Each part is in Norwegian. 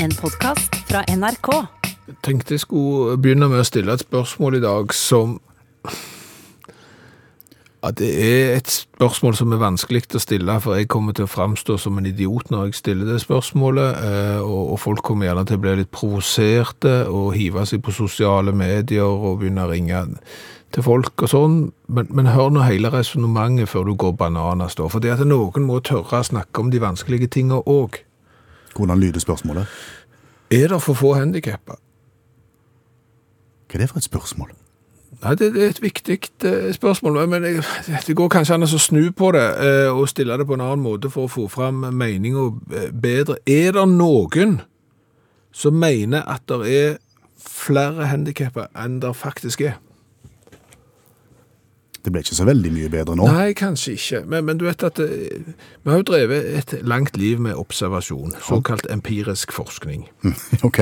en podkast fra NRK. Jeg tenkte jeg skulle begynne med å stille et spørsmål i dag som ja, Det er et spørsmål som er vanskelig å stille, for jeg kommer til å framstå som en idiot når jeg stiller det spørsmålet, eh, og, og folk kommer gjerne til å bli litt provoserte og hive seg på sosiale medier og begynne å ringe til folk og sånn, men, men hør nå hele resonnementet før du går bananas, da. For det at noen må tørre å snakke om de vanskelige tinga òg. Hvordan lyder spørsmålet? Er det for få handikappa? Hva er det for et spørsmål? Nei, det, det er et viktig eh, spørsmål, men jeg, det går kanskje an å snu på det eh, og stille det på en annen måte for å få fram meninga eh, bedre. Er det noen som mener at det er flere handikappa enn det faktisk er? Det ble ikke så veldig mye bedre nå. Nei, kanskje ikke, men, men du vet at eh, vi har jo drevet et langt liv med observasjon, såkalt empirisk forskning. ok.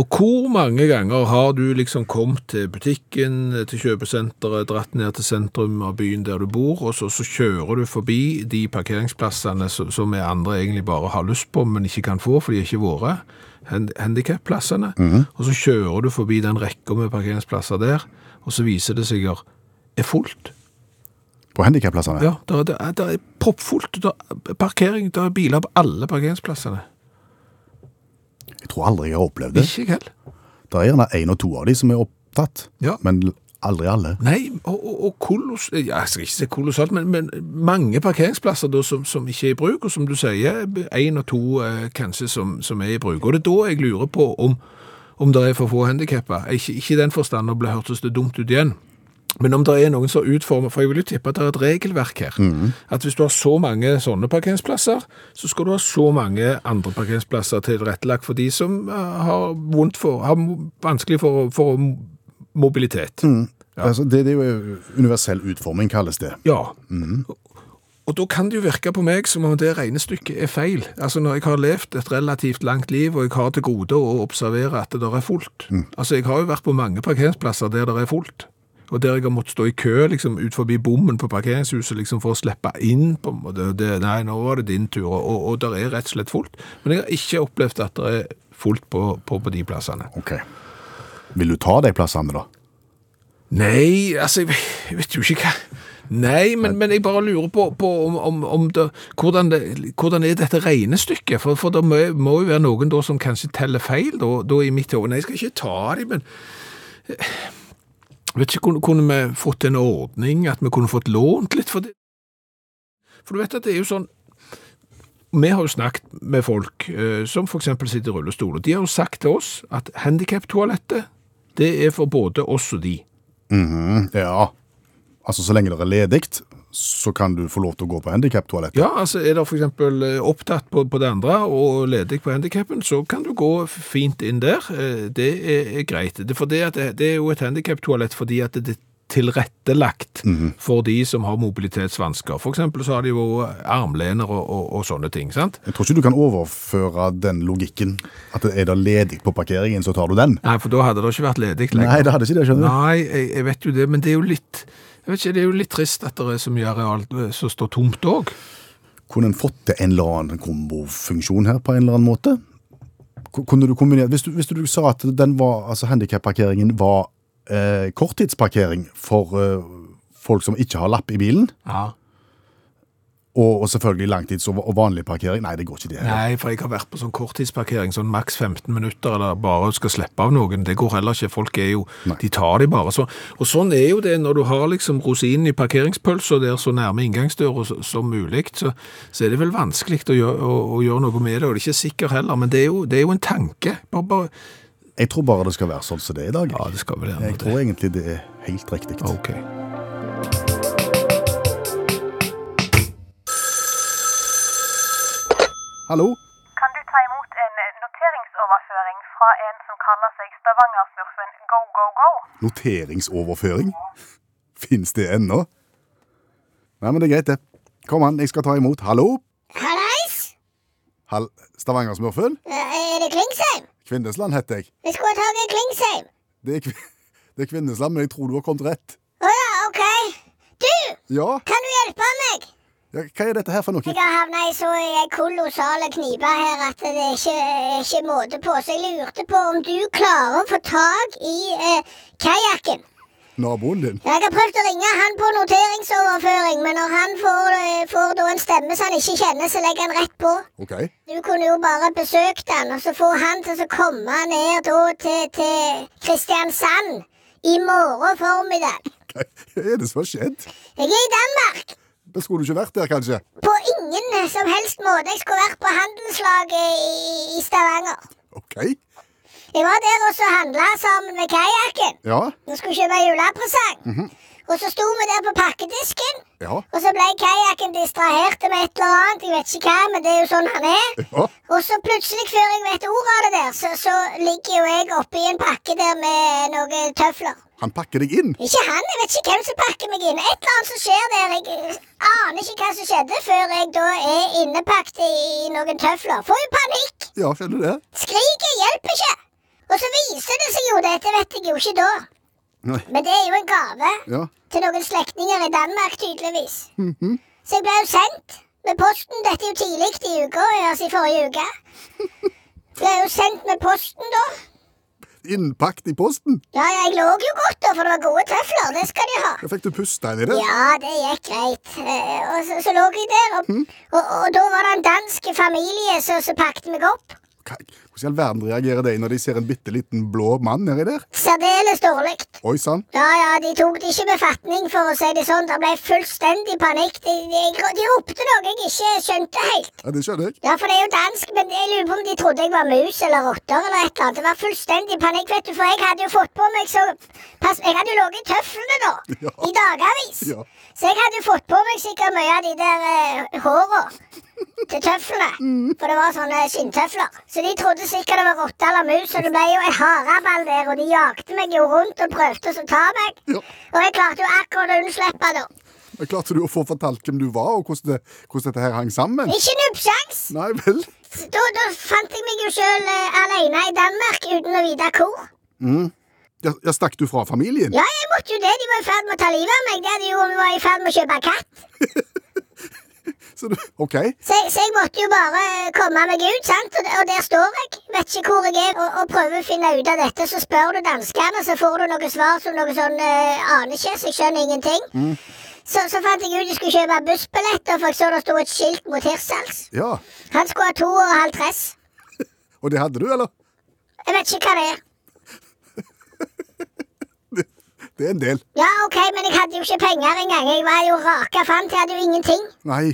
Og hvor mange ganger har du liksom kommet til butikken, til kjøpesenteret, dratt ned til sentrum av byen der du bor, og så, så kjører du forbi de parkeringsplassene som, som vi andre egentlig bare har lyst på, men ikke kan få, for de er ikke våre, hand, handikapplassene. Og så kjører du forbi den rekka med parkeringsplasser der, og så viser det seg at det er fullt. På handikapplassene? Ja, det er, det er, det er proppfullt. Det er parkering, det er biler på alle parkeringsplassene. Jeg tror aldri jeg har opplevd det. Ikke jeg heller. Det er gjerne én og to av de som er opptatt, Ja. men aldri alle. Nei, og, og, og kolos, ja, jeg skal ikke si kolossalt, men, men mange parkeringsplasser da, som, som ikke er i bruk, og som du sier, én og to eh, kanskje som, som er i bruk. Og det er da jeg lurer på om, om det er for få handikappa. Ikke, ikke i den forstand å bli hørtes det dumt ut igjen. Men om det er noen som utformer, for jeg vil jo tippe at det er et regelverk her, at hvis du har så mange sånne parkeringsplasser, så skal du ha så mange andre parkeringsplasser tilrettelagt for de som eh, har, vondt for, har mo- vanskelig for, for mobilitet. Altså, det, det er jo universell utforming, kalles det. Ja. Og da kan det jo virke på meg som om det regnestykket er feil. Altså Når jeg har levd et relativt langt liv, og jeg har til gode å observere at det der er fullt Altså Jeg har jo vært på mange parkeringsplasser der det er fullt. Og der jeg har måttet stå i kø liksom ut forbi bommen på parkeringshuset liksom for å slippe inn. på en måte. Det, Nei, nå var det din tur. Og, og der er rett og slett fullt. Men jeg har ikke opplevd at det er fullt på, på, på de plassene. Ok. Vil du ta de plassene, da? Nei, altså, jeg vet- jeg vet jo ikke hva Nei, men, men jeg bare lurer på, på om, om, om det, hvordan, det, hvordan er dette regnestykket? For, for det må, må jo være noen da som kanskje teller feil da, da i mitt hode. Nei, jeg skal ikke ta dem, men eh, Vet ikke, kunne, kunne vi fått en ordning, at vi kunne fått lånt litt for det? For du vet at det er jo sånn vi har jo snakket med folk eh, som f.eks. sitter i rullestol, og de har jo sagt til oss at handikaptoalettet, det er for både oss og de. Mhm, Ja. Altså, så lenge det er ledig, så kan du få lov til å gå på handikaptoalettet. Ja, altså er det for eksempel eh, opptatt på, på det andre og ledig på handikappen, så kan du gå f- fint inn der. Eh, Det er, er greit. Det, for det, at det, det er jo et handikaptoalett fordi at det er tilrettelagt for de som har mobilitetsvansker. For eksempel så har de jo armlener og, og, og sånne ting, sant? Jeg tror ikke du kan overføre den logikken. At er det ledig på parkeringen, så tar du den. Nei, for da hadde det ikke vært ledig lenger. Nei, det hadde ikke det, skjønner du. Nei, jeg, jeg vet jo det, men det er jo litt jeg vet ikke, Det er jo litt trist at det er så mye areal eh, som står tomt òg. Kunne en fått til en eller annen kombofunksjon her på en eller annen måte? Ku- Kunne du kombinert, hvis du, hvis du sa at den var, altså handikapparkeringen var eh, korttidsparkering for eh, folk som ikke har lapp i bilen, Ja. og, og selvfølgelig langtids- og, og vanlig parkering, nei det går ikke det. heller. Nei, for jeg har vært på sånn korttidsparkering, sånn maks 15 minutter, eller bare skal slippe av noen. Det går heller ikke. Folk er jo De tar de bare sånn. Og sånn er jo det når du har liksom rosinen i parkeringspølsa der så nærme inngangsdøra s- som mulig, så, så er det vel vanskelig å gjøre, å, å gjøre noe med det. Og det er ikke sikkert heller, men det er jo, det er jo en tanke. Bare, bare Jeg tror bare det skal være sånn som det er i dag. Ja, det skal vel være Jeg noe tror egentlig det er helt riktig. OK. Hallo? Kan du ta imot en eh, noteringsoverføring fra en som kaller seg Stavangersmurfen Go Go Go? Noteringsoverføring? Fins det ennå? Nei, men det er greit, det. Kom an, jeg skal ta imot. Hallo? Hallais! Hall Stavanger-smurfen? Eh, Er det Klingsheim? Kvinnesland heter jeg. Jeg skulle ha tatt Klingsheim. Det er, kvi- det er Kvinnesland, men jeg tror du har kommet rett. Å ja, OK. Du, Ja, kan du hjelpe meg? Ja, hva er dette her for noe? Jeg har havna i så kolossale kniper her at det er ikke, ikke måte på. Så jeg lurte på om du klarer å få tak i eh, kajakken. Naboen din? Jeg har prøvd å ringe han på noteringsoverføring, men når han får, eh, får da en stemme som han ikke kjenner, så legger han rett på. OK. Du kunne jo bare besøkt han, og så få han til å komme ned da til, til Kristiansand i morgen formiddag. Hva er det som har skjedd? Jeg er i Danmark. Da skulle du ikke vært der, kanskje? På ingen som helst måte. Jeg skulle vært på handelslaget i, i Stavanger. OK. Jeg var der og så handla sammen med kajakken. Ja. Vi skulle kjøpe julepresang. Og så sto vi der på pakkedisken, Ja. og så ble kajakken distrahert med et eller annet. Jeg vet ikke hva, men det er jo sånn han er. Ja. Og så plutselig, før jeg vet ordet av det der, så, så ligger jo jeg oppi en pakke der med noen tøfler. Han pakker deg inn. Ikke han, jeg vet ikke hvem som pakker meg inn. Et eller annet som skjer der. Jeg aner ikke hva som skjedde før jeg da er innepakket i noen tøfler. Får jo panikk! Ja, skjønner du det? Skriket hjelper ikke! Og så viser det seg jo, dette vet jeg jo ikke da, Nei. men det er jo en gave Ja. til noen slektninger i Danmark, tydeligvis. Så jeg ble jo sendt med posten, dette er jo tidlig i uka, altså i forrige uke. Ble jo sendt med posten da. Innpakt i posten. Ja, ja, jeg lå jo godt da, for det var gode tøfler, det skal de ha. Da fikk du puste inn i det. Ja, det gikk greit. Eh, Og så, så lå jeg der, og, og, og da var det en dansk familie som som pakket meg opp. Hva- Hvordan i all verden reagerer de når de ser en bitte liten blå mann nedi der? Særdeles dårlig. Oi sann. Ja, ja, de tok det ikke med fatning, for å si det sånn. Det ble fullstendig panikk. De, de, de ropte noe jeg ikke skjønte helt. Ja, det skjønner jeg. Ja, for det er jo dansk, men jeg lurer på om de trodde jeg var mus eller rotter eller et eller annet. Det var fullstendig panikk, vet du, for jeg hadde jo fått på meg så pass, Jeg hadde jo ligget i tøflene da, Ja. i dagavis. Ja. Så jeg hadde jo fått på meg sikkert mye av de der eh, håra til tøflene. Mm. For det var sånne skinntøfler. Så de trodde sikkert det var rotte eller mus, og det ble jo en haraball der, og de jagte meg jo rundt og prøvde å så ta meg. Ja. Og jeg klarte jo akkurat å unnslippe da. Men Klarte du å få fortalt hvem du var, og hvordan, det, hvordan dette her hang sammen? Ikke nubbsjans! Nei vel. Da, da fant jeg meg jo sjøl eh, alene i Danmark uten å vite hvor. Ja, ja, stakk du fra familien? Ja, jeg måtte jo det. De var i ferd med å ta livet av meg. Det hadde jo vi var i ferd med å kjøpe katt. Så du, OK. Så, jeg- så jeg måtte jo bare eh, komme meg ut, sant. Og, og der står jeg. Vet ikke hvor jeg er, og, og prøver å finne ut av dette. Så spør du danskene, så får du noe svar som noe sånn eh, aner ikke, så jeg skjønner ingenting. Så, så fant jeg ut jeg skulle kjøpe bussbilletter, for jeg så det sto et skilt mot Hirsals. Ja. Han skulle ha to og halvtreds. Og det hadde du, eller? Jeg vet ikke hva det er. Det er en del. Ja, ok, men jeg hadde jo ikke penger engang. Jeg var jo raka fant. Jeg hadde jo ingenting. Nei.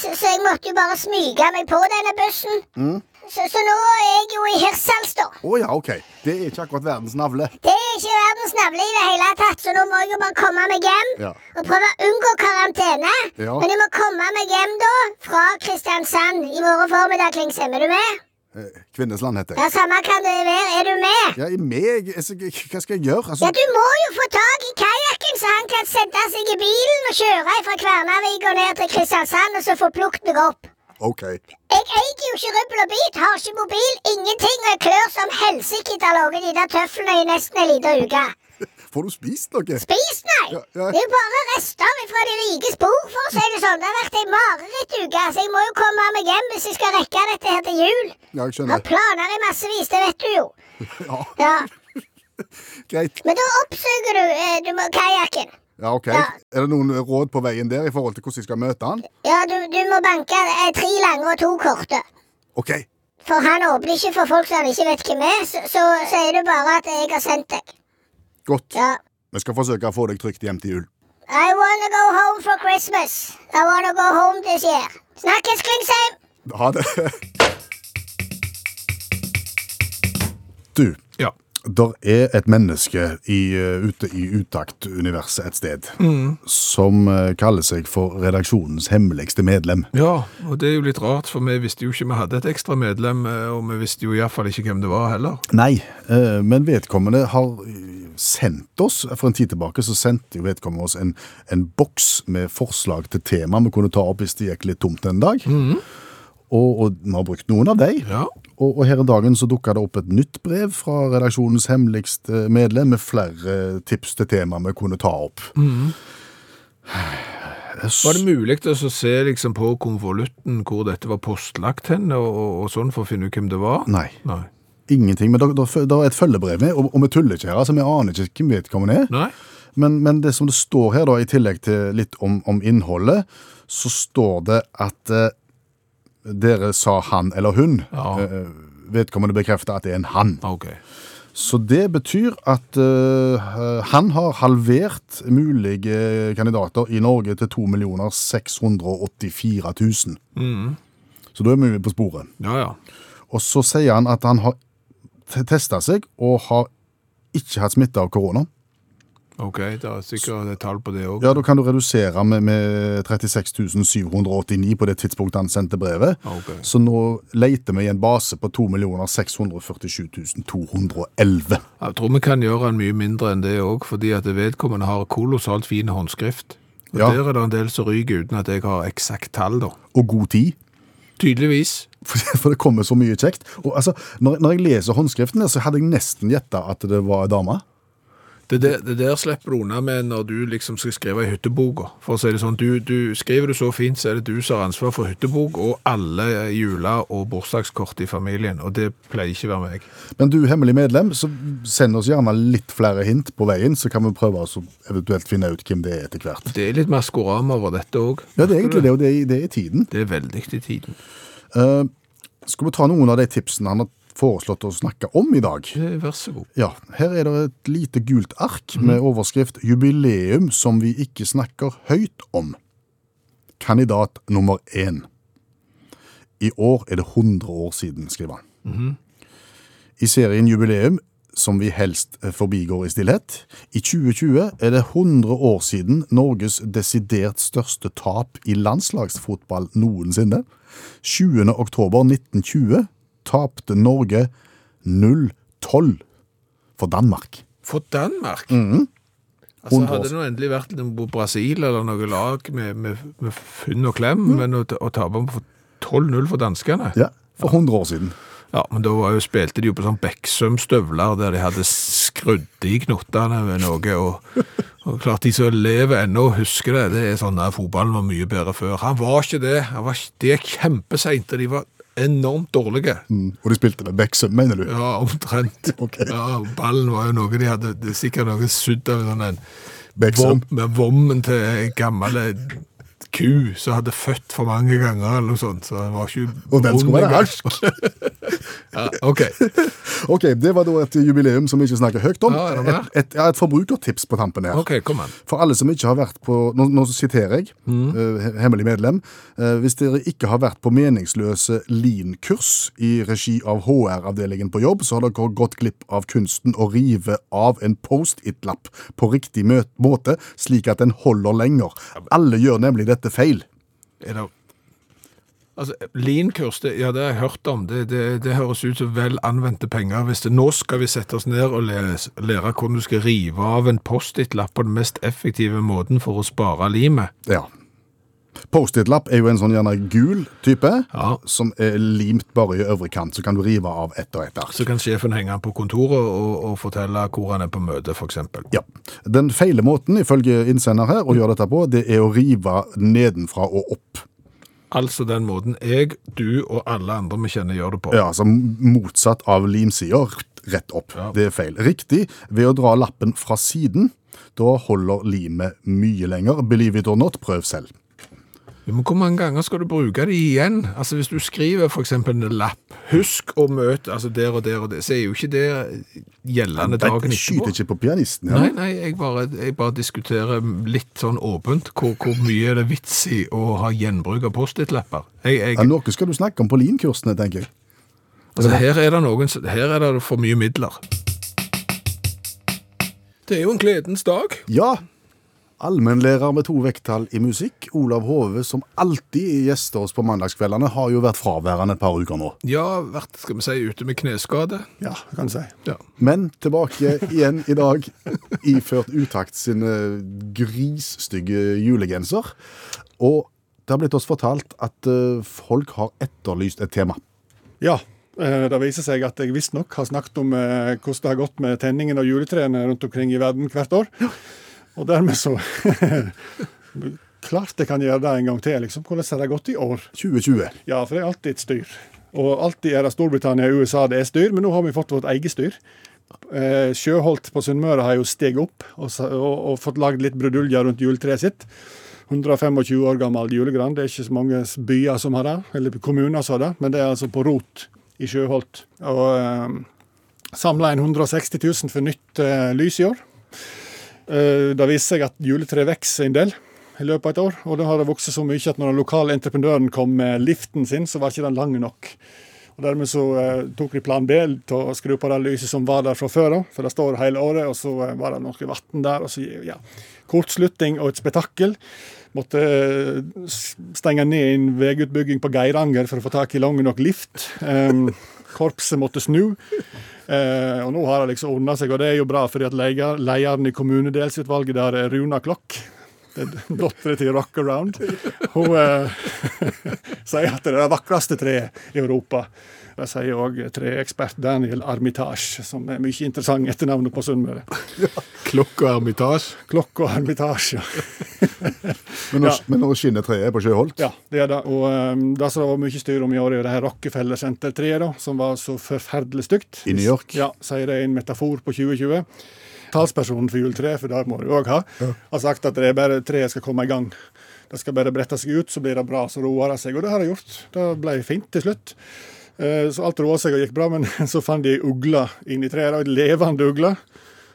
Så, så jeg måtte jo bare smyge meg på denne bussen. Mm. Så, så nå er jeg jo i Hirsals, da. Å ja, OK. Det er ikke akkurat verdens navle. Det er ikke verdens navle i det hele tatt, så nå må jeg jo bare komme meg hjem. Ja. Og prøve å unngå karantene. Ja. Men jeg må komme meg hjem, da, fra Kristiansand i morgen formiddag, Klingsheim. Er du med? Eh, Kvinnesland heter jeg. Ja, samme kan det være. Er du med? Ja, i meg altså, Hva skal jeg gjøre? Ja, Altså, du må jo få tak i kajakken, så han kan sette seg i bilen og kjøre fra Kvernavik og ned til Kristiansand, og så få plukket meg opp. OK. Jeg eier jo ikke rubbel og bit, har ikke mobil, ingenting, og jeg klør som helsike etter å lage de der tøflene i nesten en liten uke. Får du spist noe? Spis, nei! Ja, ja. Det er jo bare rester fra de rikes bord, for å si det sånn. Det har vært ei marerittuke, så jeg må jo komme meg hjem hvis jeg skal rekke dette her til jul. Ja, jeg Har skjønner. planer i massevis, det vet du jo. Ja, Ja. Greit. Men da oppsøker du, eh, du må- kajakken. Ja, OK. Ja. Er det noen råd på veien der i forhold til hvordan jeg skal møte han? Ja, du, du må banke eh, tre lange og to korte. OK. For han åpner ikke for folk som han ikke vet hvem er, så, så sier du bare at jeg har sendt deg. Godt. Ja. Vi skal forsøke å få deg trygt hjem til jul. I wanna go home for Christmas. I wanna go home this year. Snakkes, Klingsheim! Ha det. Du, Ja. der er et menneske i, eh, ute i utakt-universet et sted som eh, kaller seg for redaksjonens hemmeligste medlem. ja, og det er jo litt rart, for vi visste jo ikke vi hadde et ekstra medlem, eh, og vi visste jo iallfall ikke hvem det var heller. Nei, eh, men vedkommende har eh, sendt oss, for en tid tilbake så sendte jo vedkommende oss en, en boks med forslag til tema vi kunne ta opp hvis det gikk litt tomt en dag. Og, og vi har brukt noen av dem. Ja. Og, og her i dagen så dukka det opp et nytt brev fra redaksjonens hemmeligste medlem med flere tips til tema vi kunne ta opp. Var det mulig å så se liksom på konvolutten hvor dette var postlagt hen, og, og, og sånn, for å finne ut hvem det var? Nei. Nei. Ingenting. Men det er et følgebrev med, og, og vi tuller ikke her. altså Vi aner ikke hvem vedkommende er. Nei? Men, men det som det står her, da, i tillegg til litt om, om innholdet, så står det at eh, dere sa han eller hun. Ja. Eh, vedkommende bekrefter at det er en han. Ah, Ok. Så det betyr at eh, han har halvert mulige kandidater i Norge til 2 684 000. Så da er vi på sporet. Ja, ja. Og så sier han at han har testa seg og har ikke hatt smitte av korona. Ok, det er sikkert et tall på det òg. Ja, da kan du redusere med, med 36 789 på det tidspunktet han sendte brevet. Ok. Så nå leter vi i en base på 2 647 211. Jeg tror vi kan gjøre den mye mindre enn det òg, fordi at vedkommende har kolossalt fin håndskrift. Og Ja. Der er det en del som ryker uten at jeg har eksakt tall, da. Og god tid. Tydeligvis. For, for det kommer så mye kjekt. Og altså, når, når jeg leser håndskriften, der, så hadde jeg nesten gjetta at det var ei dame. Det der, det der slipper du unna med når du liksom skal skrive i hytteboka. For å si det sånn, du, du, skriver du så fint, så er det du som har ansvar for hyttebok og alle jule- og bursdagskort i familien. Og det pleier ikke å være meg. Men du, hemmelig medlem, så send oss gjerne litt flere hint på veien, så kan vi prøve oss å eventuelt finne ut hvem det er etter hvert. Det er litt maskorama over dette òg. Ja, det er egentlig det, og det er, det er i tiden. Det er veldig i tiden. Eh, skal vi ta noen av de tipsene han har foreslått å snakke om i dag? Eh, Vær så god. Ja, her er det et lite gult ark med overskrift 'Jubileum som vi ikke snakker høyt om'. Kandidat nummer én. I år er det 100 år siden, skriver han. I serien Jubileum, som vi helst eh, forbigår i stillhet, i 2020 er det 100 år siden Norges desidert største tap i landslagsfotball noensinne. 20. oktober 1920 tapte Norge 0-12 for Danmark. For Danmark! Altså, 100 Mhm. år hadde det nå endelig vært noe på Brasil eller noe lag med, med, med funn og klem, Mhm. men å, ta- å tape på 12-0 for danskene Ja, for 100 år siden. Ja, men da var jo, spilte de jo på sånn Beksøm-støvler der de hadde skrudd i knottene med noe, og, og klart de som lever ennå og husker det, det er sånn at fotballen var mye bedre før. Han var ikke det. Han var, ikke- de er kjempeseinte. De var enormt dårlige. Mm. Og de spilte med Beksøm, mener du? Ja, omtrent. Ok. Ja, ballen var jo noe de hadde, det er sikkert noe sudd av en sånn en Beksøm. vom, med vommen til en gammel eh, ku som hadde født for mange ganger eller noe sånt, så den var ikke Og den skulle rund være engang. hersk. Ja, ok. Ok, det var da et jubileum som vi ikke snakker høyt om. Ja, er det mer? et, et, ja, et forbrukertips på tampen her. Ok, kom an. For alle som ikke har vært på Nå, nå siterer jeg, Mm. eh, he- hemmelig medlem. eh, hvis dere ikke har vært på meningsløse Lean-kurs i regi av HR-avdelingen på jobb, så har dere gått glipp av kunsten å rive av en Post-It-lapp på riktig mø- måte, slik at den holder lenger. Alle gjør nemlig dette feil. Er det... Altså, Lean-kurs, det, ja, det har jeg hørt om. Det, det, det høres ut som vel anvendte penger. Hvis det, nå skal vi sette oss ned og lære, lære hvordan du skal rive av en post-it-lapp på den mest effektive måten for å spare limet. Ja. Post-it-lapp er jo en sånn gjerne gul type, Ja. som er limt bare i øvre kant, så kan du rive av ett og ett ark. Så kan sjefen henge han på kontoret og, og fortelle hvor han er på møte, f.eks. Ja. Den feile måten, ifølge innsender her, å gjøre dette på, det er å rive nedenfra og opp. Altså den måten jeg, du og alle andre vi kjenner gjør det på. Ja, altså motsatt av limsida, rett opp. Det er feil. Riktig, ved å dra lappen fra siden, da holder limet mye lenger. Believe it or not, prøv selv. Men hvor mange ganger skal du bruke det igjen? Altså Hvis du skriver f.eks. en lapp 'Husk å møte' altså der og der og det, så er jo ikke det gjeldende dagen Jeg etterpå. skyter ikke på pianisten her. Nei, nei, jeg bare, jeg bare diskuterer litt sånn åpent hvor, hvor mye er det vits i å ha gjenbruk av Post-It-lapper. Jeg, jeg, Ja, noe skal du snakke om på linkursene, tenker jeg. Altså, her er det noen som- Her er det for mye midler. Det er jo en gledens dag. Ja. Allmennlærer med to vekttall i musikk, Olav Hove, som alltid gjester oss på mandagskveldene, har jo vært fraværende et par uker nå. Ja, vært skal vi si, ute med kneskade. Ja, kan du si. Ja. Men tilbake igjen i dag, iført Utakt sin eh, grisstygge julegenser. Og det har blitt oss fortalt at eh, folk har etterlyst et tema. Ja, eh, det viser seg at jeg visstnok har snakket om eh, hvordan det har gått med tenningen av juletrærne rundt omkring i verden hvert år. Og dermed så klart jeg kan gjøre det en gang til. liksom. Hvordan har det gått i år? 2020. Ja, for det er alltid et styr. Og alltid er det Storbritannia og USA det er styr, men nå har vi fått vårt eget styr. Eh, Sjøholt på Sunnmøre har jo steget opp og, sa- og, og fått lagd litt bruduljer rundt juletreet sitt. 125 år gammel julegran. Det er ikke så mange byer som har det, eller kommuner som har det, men det er altså på rot i Sjøholt. Og eh, samla inn 160 000 for nytt eh, lys i år. Eh, Det viser seg at juletreet vokser en del i løpet av et år. Og det har det vokst så mye at når den lokale entreprenøren kom med liften sin, så var ikke den lang nok. Og Dermed så eh, tok de plan B til å skru på det lyset som var der fra før av, for det står hele året. Og så eh, var det noe vann der, og så ja. Kortslutning og et spetakkel. Måtte eh, s- stenge ned en veiutbygging på Geiranger for å få tak i lang nok lift. Em, korpset måtte snu. Eh, og nå har det liksom ordna seg, og det er jo bra, fordi at leier, lederen i kommunedelsutvalget der er Runa Klokk. Dattera til Rock Around. Hun eh, sier at det er det vakreste treet i Europa. Det sier òg treekspert Daniel Armitage, som er mye interessant etternavnet på Sunnmøre. Klokk og ermitasj. Klokk og Armitage. ja. Men nå, Ja. men nå skinner treet på Sjøholt. Ja, det er det. Og um, det som det var mye styr om i år, er jo det her Rockefeller Center-treet, da, som var så forferdelig stygt. I New York. Ja, sier det er en metafor på 2020. Talspersonen for juletreet, for det må du òg ha, har sagt at det er bare treet skal komme i gang. Det skal bare brette seg ut, så blir det bra. Så roer det seg. Og det har det gjort. Det ble fint til slutt. Eh, Så alt roa seg og gikk bra, men så fant de ei ugle inni treet. da, En levende ugle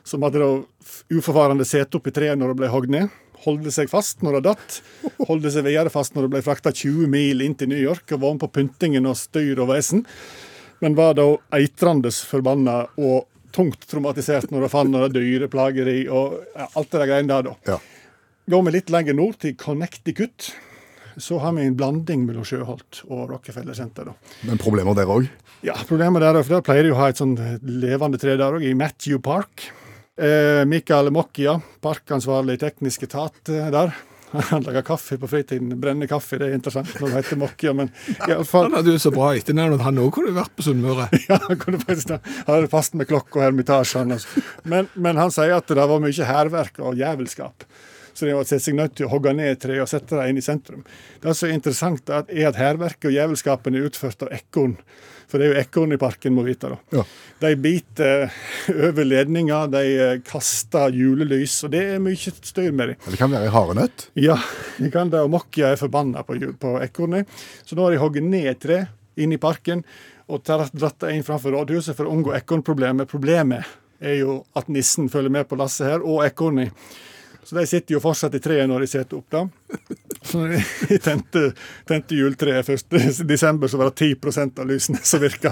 som hadde da f- uforvarende sete oppi treet når det ble hogd ned. Holdt seg fast når det datt. Holdt seg videre fast når det ble frakta 20 mil inn til New York og var med på pyntingen og styr og vesen. Men var da eitrende forbanna og tungt traumatisert når det fant det dyre plageri og ja, alt det der greiene der, da. Ja. Går vi litt lenger nord, til Connecticut, så har vi en blanding mellom Sjøholt og Rockefeller Center. da. Men problemer der òg. Ja, problemet der, er- for der pleier de å ha et sånn levende tre der òg, i Matthew Park. Eh, Mikael Mokkia, parkansvarlig i teknisk etat eh, der. Han lager kaffe på fritiden. Brenner kaffe, det er interessant når det heter Mokkia, men i alle fall, Han hadde jo så bra etternavn at han òg kunne vært på Sunnmøre. ja, han kunne faktisk da- han hadde fast med klokka og hermitasjen. Altså. Men, men han sier at det var mye hærverk og jævelskap. Så de har sett seg nødt til å hogge ned treet og sette det inn i sentrum. Det som er interessant, er at- er at hærverket og jævelskapen er utført av ekorn. For det er jo ekorn i parken, må vite. Ja. da. De biter eh, over ledninger, de eh, kaster julelys, og det er mye styr med dem. Det kan være ei harenøtt. Ja, de kan det, og Mokkia er forbanna på, ju- på ekornet. Så nå har de hogget ned et tre inne i parken og tar- dratt det inn framfor rådhuset for å unngå ekornproblemet. Problemet er jo at nissen følger med på lasset her, og ekornet. Så de sitter jo fortsatt i treet når de setter opp det. Så når de tente, tente juletreet 1.12., så var det 10 av lysene som virka.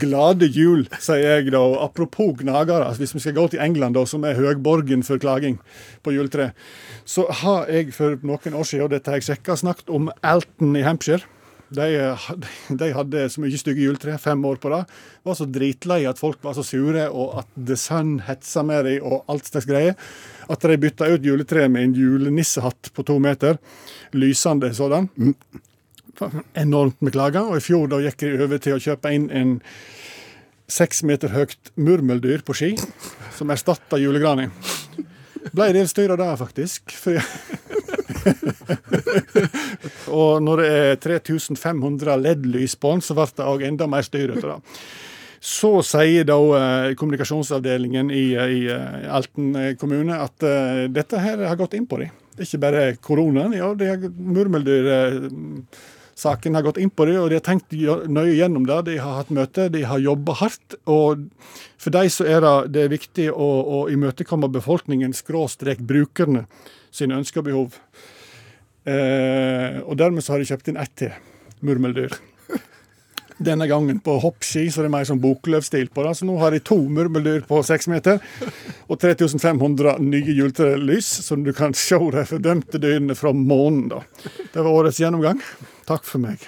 Glade jul, sier jeg da. Og apropos gnagere, altså, hvis vi skal gå til England, da, som er høgborgen for klaging på juletre, så har jeg for noen år siden, og dette har jeg sjekka, snakket om Alton i Hampshire. De, hadde- de hadde så mye stygge juletre, fem år på rad. Var så dritlei at folk var så sure, og at The Sun hetsa med dem og alt slags greier, at de bytta ut juletreet med en julenissehatt på to meter. Lysende sådan enormt med klager, og i fjor da gikk de over til å kjøpe inn en seks meter høyt murmeldyr på ski, som erstatta julegranen. Ble en del styr av det, faktisk. For og når det er 3500 LED-lys på den, så ble det òg enda mer styr ut av det. Så sier da eh, kommunikasjonsavdelingen i, eh, i eh, Alten eh, kommune at eh, dette her har gått inn på dem. Det er ikke bare koronaen, ja, det er murmeldyr... Eh, saken har gått inn på det, og de har tenkt gjø- nøye gjennom det. De har hatt møte, de har jobba hardt. Og for dem så er det, det er viktig å, å imøtekomme befolkningen, skråstrek brukerne, sine ønsker og behov. Eh, og dermed så har de kjøpt inn ett til, murmeldyr. Denne gangen på hoppski, så det er mer sånn Boklöv-stil på det. Så nå har de to murmeldyr på seks meter, og 3500 nye juletrelys, som du kan se de fordømte dyrene fra månen, da. Det var årets gjennomgang. Takk for meg.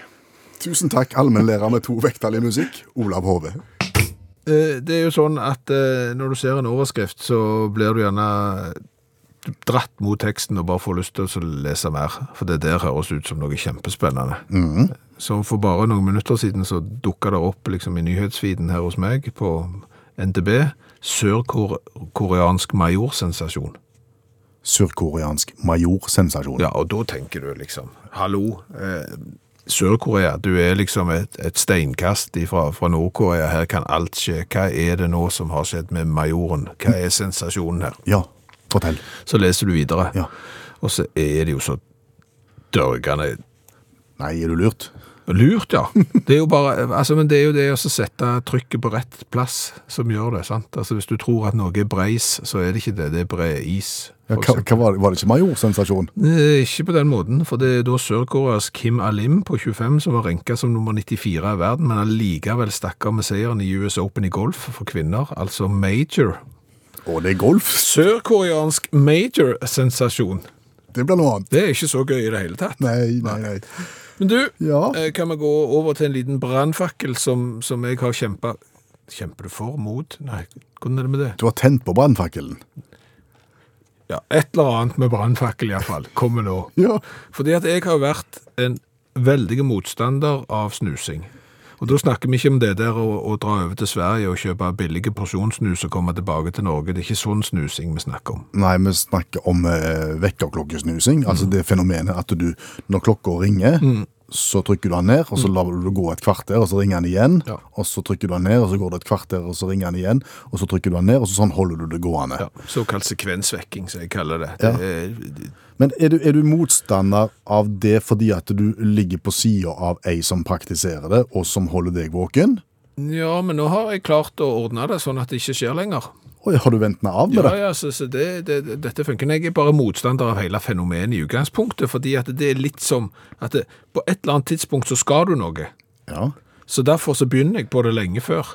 Tusen takk, allmennlærer med to vekttall i musikk, Olav Hove. Eh, Det er jo sånn at eh, når du ser en overskrift, så blir du gjerne dratt mot teksten og bare får lyst til å lese mer, for det der høres ut som noe kjempespennende. Så for bare noen minutter siden så dukket det opp liksom i nyhetsfiden her hos meg på NTB, sørkoreansk majorsensasjon. sørkoreansk majorsensasjon. Ja, og da tenker du liksom Hallo, eh, Sør-Korea, du er liksom et, et steinkast ifra, fra Nord-Korea. Her kan alt skje. Hva er det nå som har skjedd med majoren? Hva er sensasjonen her? Ja, fortell. Så leser du videre, Ja. og så er det jo så dørgende Nei, er du lurt? lurt, ja. Det er jo bare, altså, men det er jo det å så sette trykket på rett plass som gjør det, sant? Altså, hvis du tror at noe er breis, så er det ikke det. Det er breis. Ja, for hva, hva var, det- var det ikke majorsensasjon? Eh, Ikke på den måten, for det er da Sør-Koreas Kim Alim på 25 som var renka som nummer 94 i verden, men allikevel stakk av med seieren i US Open i golf for kvinner, altså major. Å, det er golf! Sørkoreansk major-sensasjon. Det blir noe annet. Det er ikke så gøy i det hele tatt. Nei, nei, nei. Men du, Ja. eh, kan vi gå over til en liten brannfakkel som, som jeg har kjempa Kjemper du for? Mot? Nei, hvordan er det med det? Du har tent på brannfakkelen. Ja, Et eller annet med brannfakkel iallfall kommer nå. Ja. Fordi at jeg har vært en veldig motstander av snusing. Og da snakker vi ikke om det der å, å dra over til Sverige og kjøpe billige porsjonssnus og komme tilbake til Norge. Det er ikke sånn snusing vi snakker om. Nei, vi snakker om eh, vekkerklokkesnusing. Altså det fenomenet at du, når klokka ringer, så trykker du den ned, og så lar du det gå et kvarter, og så ringer den igjen. Ja. Og så trykker du den ned, og så går det et kvarter, og så ringer den igjen. Og så trykker du den ned, og så sånn holder du det gående. Ja, Såkalt sekvensvekking, som jeg kaller det. Ja. det er, Men er du, er du motstander av det fordi at du ligger på sida av ei som praktiserer det, og som holder deg våken? ja, men nå har jeg klart å ordne det sånn at det ikke skjer lenger. Oi, har du ventende av med Ja, det? ja, så, så det, det, det- dette funker. Jeg er bare motstander av hele fenomenet i utgangspunktet, fordi at det er litt som at det, på et eller annet tidspunkt så skal du noe. Ja. Så derfor så begynner jeg på det lenge før.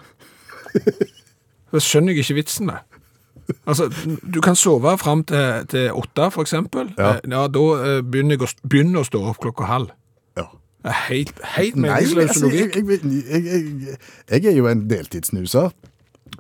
Da skjønner jeg ikke vitsen med. Altså, du kan sove frem til, til åtte, for eksempel. Ja. Eh, ja da eh, begynner jeg å, st- begynner å stå opp klokka halv. ja. Det er Helt, helt Nei, meningsløs altså, jeg, logikk. jeg, jeg, jeg, jeg er jo en deltidssnuser.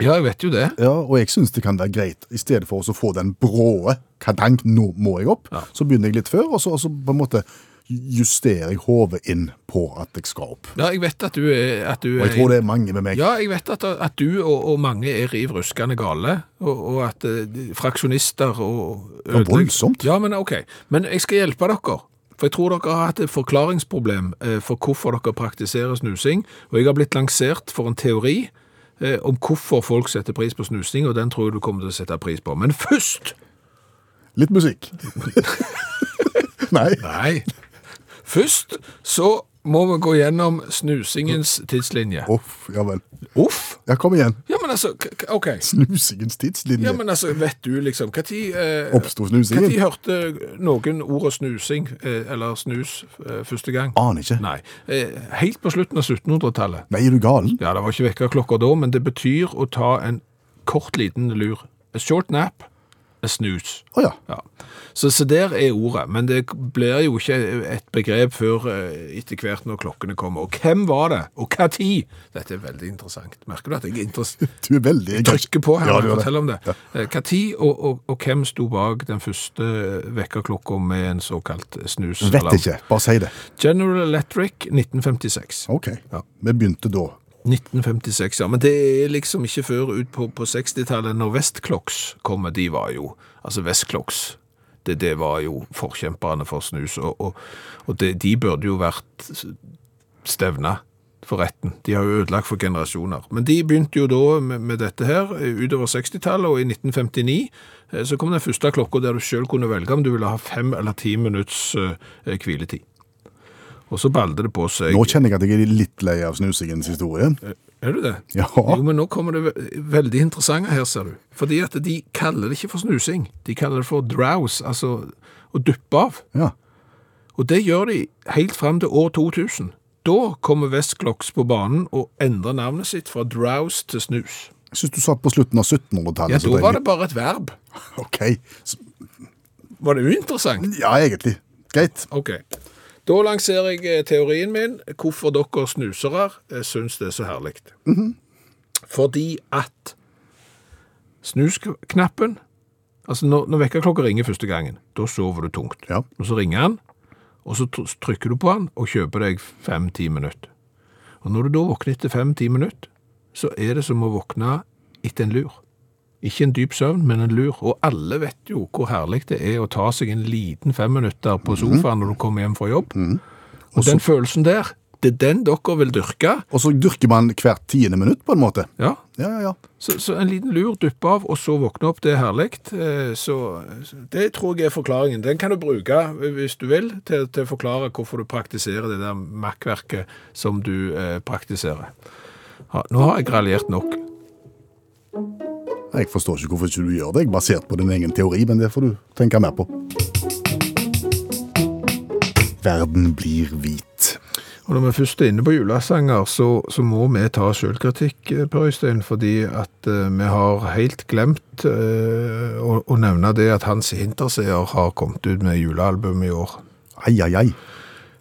Ja, jeg vet jo det. Ja, og jeg syns det kan være greit, i stedet for å så få den bråe kadank, nå må jeg opp, så begynner jeg litt før, og så, og så på en måte justerer jeg hodet inn på at jeg skal opp. Ja, jeg vet at du er, at du Og jeg tror det er mange med meg. Ja, jeg vet at, at du og, og mange er riv ruskende gale, og, og at eh, de- fraksjonister og ødelegg- voldsomt. Ja, men ok. Men jeg skal hjelpe dere. For jeg tror dere har hatt et forklaringsproblem eh, for hvorfor dere praktiserer snusing, og jeg har blitt lansert for en teori eh, om hvorfor folk setter pris på snusing, og den tror jeg du kommer til å sette pris på. Men først Litt musikk. Nei. Nei. Først så må vi gå gjennom snusingens tidslinje. Uff, ja vel. Uff! Ja, kom igjen. Ja, men altså, k- k- OK. Snusingens tidslinje. Ja, men altså, vet du liksom, hva tid, eh, Oppsto hva tid snusingen? hørte noen ordet snusing, eh, eller snus, eh, første gang? Aner ikke. Nei. Nei, eh, helt på slutten av 1700-tallet. er du galen? Ja, det var ikke vekkerklokka da, men det betyr å ta en kort liten lur. A short nap, a snus. Å ja. Ja. Så, så der er ordet, men det blir jo ikke et begrep før eh, etter hvert når klokkene kommer. Og hvem var det, og hva tid? Dette er veldig interessant. Merker du at jeg er interessant? Du er veldig trykker på her Ja, og du gjør forteller det. om det. Eh, Hva tid og, og, og hvem sto bak den første vekkerklokka med en såkalt snus? Vet ikke. Bare si det. General Electric 1956. OK. Ja. Vi begynte da. 1956, ja. Men det er liksom ikke før ut på, på 60-tallet, når Vestkloks kommer. De var jo Altså, Vestkloks det, det var jo forkjemperne for snus, og, og, og det, de burde jo vært stevna for retten. De har jo ødelagt for generasjoner. Men de begynte jo da med, med dette her eh, utover 60-tallet, og i 1959 eh, så kom den første klokka der du sjøl kunne velge om du ville ha fem eller ti minutts eh, eh, hviletid. Og så balde det på seg Nå kjenner jeg at jeg er litt lei av snusingens historie. er du det? Ja. Jo, men nå kommer det ve- veldig interessante her, ser du. Fordi at de kaller det ikke for snusing. De kaller det for drowse, altså å duppe av. Ja. Og det gjør de helt frem til år 2000. Da kommer Vestkloks på banen og endrer navnet sitt fra drowse til snus. Jeg syns du sa på slutten av 1700-tallet. Ja, så da var drev det bare et verb. jeg- Ok. Så- Var det uinteressant? Ja, egentlig. Greit. Ok. Da lanserer jeg eh, teorien min, hvorfor dere snusere eh, syns det er så herlig. Fordi at snusknappen Altså, når, når vekkerklokka ringer første gangen, da sover du tungt. Ja. Og så ringer han, og så tr- trykker du på han og kjøper deg fem-ti minutter. Og når du da våkner etter fem-ti minutter, så er det som å våkne etter en lur Ikke en dyp søvn, men en lur. Og alle vet jo hvor herlig det er å ta seg en liten femminutter på sofaen når du kommer hjem fra jobb. Og den følelsen der, det er den dere vil dyrke. Og så dyrker man hvert tiende minutt, på en måte. Ja, Ja, ja, ja. så, så en liten lur duppe av, og så våkne opp, det er herlig. Eh, Så så det tror jeg er forklaringen. Den kan du bruke, eh, hvis du vil, til, til å forklare hvorfor du praktiserer det der makkverket som du eh, praktiserer. Ja, nå har jeg raljert nok. Jeg forstår ikke hvorfor ikke du gjør det, jeg er basert på din egen teori, men det får du tenke mer på. Verden blir hvit. Og når vi først er inne på julesanger, så, så må vi ta selvkritikk, eh, Per Øystein, fordi at eh, vi har helt glemt eh, å, å nevne det at Hans Hinterseer har kommet ut med julealbum i år. Ai, ai, ai.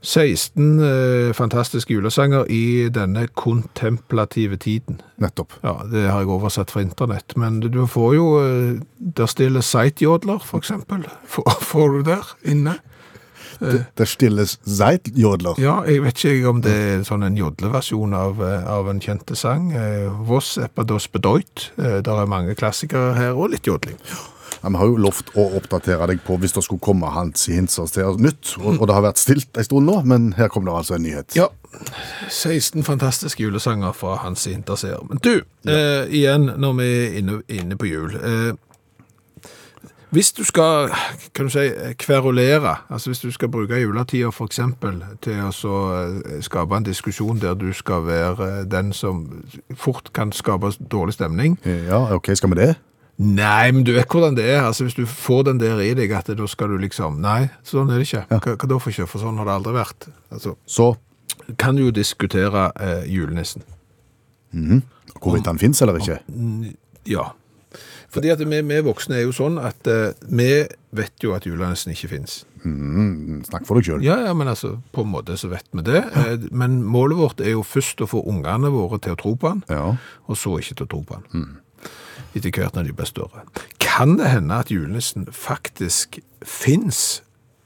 16 eh, fantastiske julesanger i denne kontemplative tiden. Nettopp. Ja, det har jeg oversatt fra internett, men du får jo eh, Der stille sightjodler, for eksempel. Får, får du der inne? Der stilles Zeit-jodler. Ja, jeg vet ikke jeg om det er sånn en jodleversjon av, eh, av en kjente sang. Eh, Voss eppa dos bedeut. Eh, Der er mange klassikere her, og litt jodling. Ja, Vi har jo lovt å oppdatere deg på hvis det skulle komme Hans Hinsers til nytt, og, og det har vært stilt en stund nå, men her kommer det altså en nyhet. Ja. 16 fantastiske julesanger fra Hans Hinterseer. Men du, eh, igjen når vi er inne, inne på jul. Eh, hvis du skal kan du si, kverulere, altså hvis du skal bruke juletida f.eks. til å så eh, skape en diskusjon der du skal være eh, den som fort kan skape dårlig stemning Ja, ok, skal vi det? Nei, men du vet hvordan det er. Altså, Hvis du får den der i deg at da skal du liksom Nei, sånn er det ikke. Hva, hva da for ikke? For sånn har det aldri vært. Altså, Så, kan jo diskutere eh, julenissen. hvorvidt han finnes eller ikke? Ja. Fordi at vi, vi voksne er jo sånn at eh, vi vet jo at julenissen ikke fins. Snakk for deg selv. Ja, ja, men altså, på en måte så vet vi det. Eh, Men målet vårt er jo først å få ungene våre til å tro på han, Ja. og så ikke til å tro på han. Etter hvert når de blir større. Kan det hende at julenissen faktisk fins,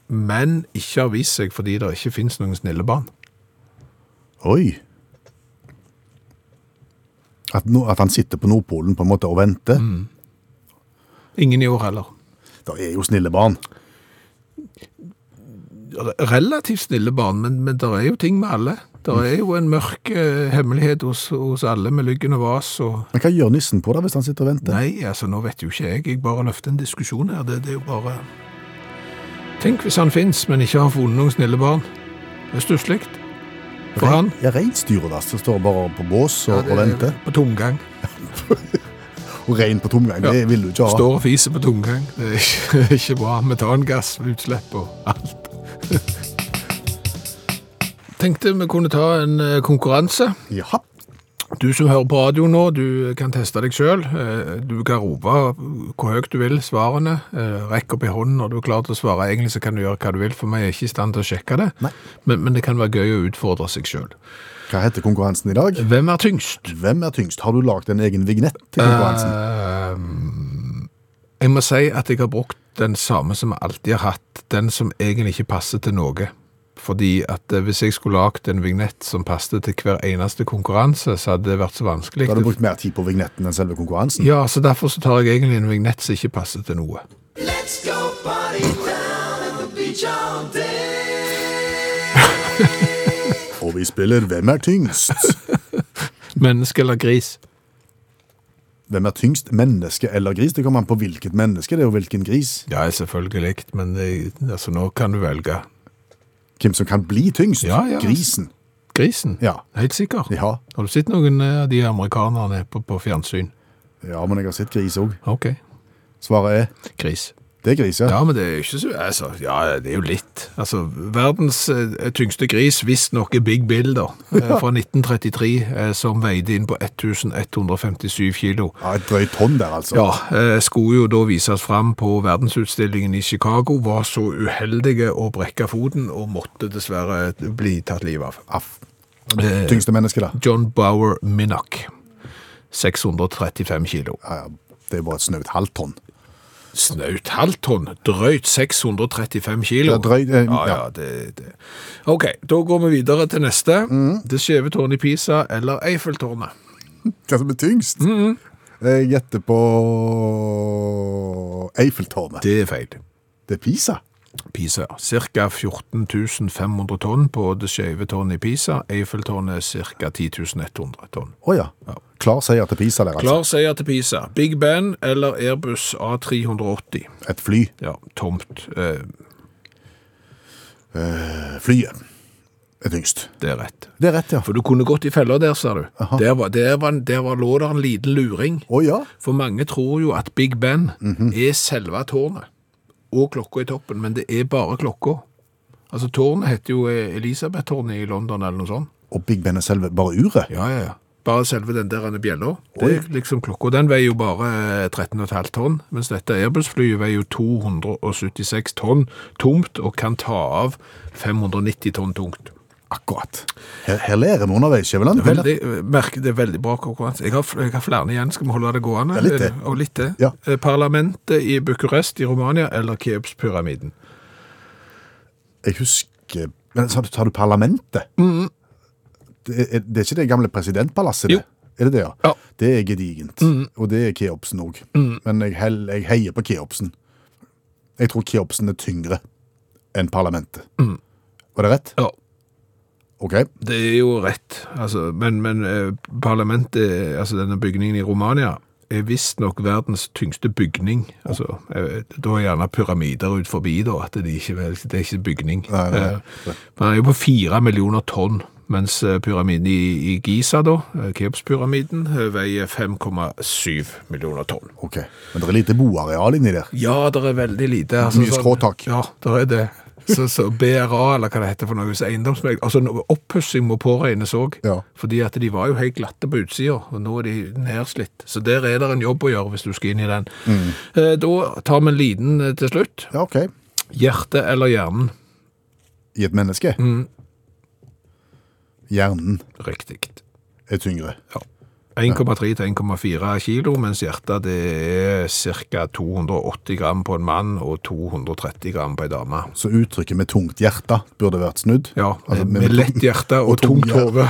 men ikke har vist seg fordi det ikke fins noen snille barn? Oi. At, nå- at han sitter på Nordpolen på en måte og venter. Mm. Ingen i år heller. Det er jo snille barn. relativt snille barn, men, men det er jo ting med alle. Det er jo en mørk eh, hemmelighet hos, hos alle med lyggen og vas. Og... Men hva gjør nissen på da hvis han sitter og venter? Nei, altså, nå vet jo ikke jeg. Jeg bare løfter en diskusjon her. Det, det er jo bare Tenk hvis han fins, men ikke har funnet noen snille barn. Det er stusslig. For han. Ja, Reinsdyret da, som står bare på bås og, og venter. På tomgang. Og rein på tomgang, Ja. det vil du ikke ha. Står og fiser på tomgang. Det er ikke, ikke bra. Metangassutslipp og alt. Tenkte vi kunne ta en eh, konkurranse. Jaha. Du som hører på radio nå, du kan teste deg sjøl. Du kan rope hvor høyt du vil svarene. Eh, Rekk opp i hånden når du er klar til å svare. Egentlig så kan du gjøre hva du vil, for vi er ikke i stand til å sjekke det. Nei. Men, men det kan være gøy å utfordre seg sjøl. Hva heter konkurransen i dag? Hvem er tyngst? Hvem er tyngst? Har du lagd en egen vignett til Eh, konkurransen? Jeg må si at jeg har brukt den samme som jeg alltid har hatt. Den som egentlig ikke passer til noe. Fordi at eh, hvis jeg skulle lagd en vignett som passet til hver eneste konkurranse, så hadde det vært så vanskelig. da har du brukt mer tid på vignetten enn selve konkurransen. Ja, så derfor så tar jeg egentlig en vignett som ikke passer til noe. Og vi spiller Hvem er tyngst? Menneske eller gris? Hvem er tyngst, menneske eller gris? Det kommer an på hvilket menneske det er, og hvilken gris. Ja, selvfølgelig, men det, altså, nå kan du velge. Hvem som kan bli tyngst? Ja, ja. Grisen. Grisen? Ja. Helt sikker? Ja. Har du sett noen eh, av de amerikanerne på, på fjernsyn? ja, men jeg har sett gris òg. Ok, Svaret er gris. det er gris, ja. Ja, men det er jo ikke så altså, Ja, det er jo litt. Altså, verdens eh, tyngste gris, visstnok er Big Bill, da, eh, fra 1933, eh, som veide inn på 1157 kilo. ja et drøyt tonn der, altså. Ja, eh, skulle jo da vises fram på verdensutstillingen i Chicago, var så uheldige å brekke foten og måtte dessverre bli tatt livet av. Aff. Tyngste menneske, da. John Bauer Minnock. 635 kilo. Ja, ja. Det er bare et snaut halvt tonn. Snaut halvt tonn, drøyt 635 kilo. Ja, drøyt, eh, ja, ja, ja. det, det. Ok, da går vi videre til neste. Det skjeve tårnet i Pisa eller Eiffeltårnet. Hva som er tyngst? Jeg gjetter på Eiffeltårnet. Det er feil. Det er Pisa. Pisa. Cirka 14 500 tonn på det skjeve tårnet i Pisa. Eiffeltårnet ca. 10 100 tonn. Å ja. Klar seier til Pisa der, altså. Klar seier til Pisa. Big Ben eller Airbus A380. Et fly. Ja, tomt. Eh, Eh, Flyet er tyngst. det er rett. Det er rett, ja. For du kunne gått i feller der, sa du. Der, var, der, var, der var, lå der en liten luring. Å ja. For mange tror jo at Big Ben er selve tårnet og klokka i toppen, men det er bare klokka. Altså, tårnet heter jo eh, Elisabeth-tårnet i London eller noe sånt. Og Big Ben er selve bare uret. Ja, ja, ja. Bare selve den der ene bjella. Det er liksom klokka. Den veier jo bare eh, 13,5 tonn, mens dette Airbus-flyet veier jo 276 tonn tomt og kan ta av 590 tonn tungt. Akkurat. Her, her lærer vi underveis, Skjæveland. Veldig, merke, det er veldig bra konkurranse. Jeg har, fl- jeg har flere igjen, skal vi holde det gående? Ja, litt til. Eh, Og litt til. Ja. Eh, Parlamentet i Bucuresti i Romania eller Keopspyramiden? Jeg husker Men sa du, sa du parlamentet? Det, er, det er ikke det gamle presidentpalasset? Mm. det? Jo. Er det det, ja? Ja. Mm. Det er gedigent. Og det er Keopsen òg. Men jeg, hell, jeg heier på Keopsen. Jeg tror Keopsen er tyngre enn parlamentet. Mm. Var det rett? Ja, OK. det er jo rett. Altså, men men eh, parlamentet, altså denne bygningen i Romania, er visstnok verdens tyngste bygning. Altså, eh, da er gjerne pyramider ut forbi, da, at det, ikke, vel- det er ikke bygning. Nei, nei, Eh, Man er jo på fire millioner tonn, mens eh, pyramiden i, i Giza, da, eh, Keopspyramiden, eh, veier 5,7 millioner tonn. ok. Men det er lite boareal inni der. Ja, det er veldig lite. altså, Mye sånn- skråtak. Ja, det er det. Så, så BRA, eller hva det heter for noe, så eiendomsmegler Altså, noe oppussing må påregnes òg. Ja. Fordi at de var jo helt glatte på utsida, og nå er de nedslitt. Så der er det en jobb å gjøre hvis du skal inn i den. Mm. Eh, Da tar vi en liten eh, til slutt. Ja, OK. Hjertet eller hjernen? I et menneske. Mm. Hjernen Riktig. er tyngre. Ja. 1,3 til 1,4 kilo, mens hjertet det er ca. 280 gram på en mann og 230 gram på en dame. Så uttrykket med tungt hjerte burde vært snudd. Ja, Altså, med, lett hjerte og, og tung tungt hjerte. hode.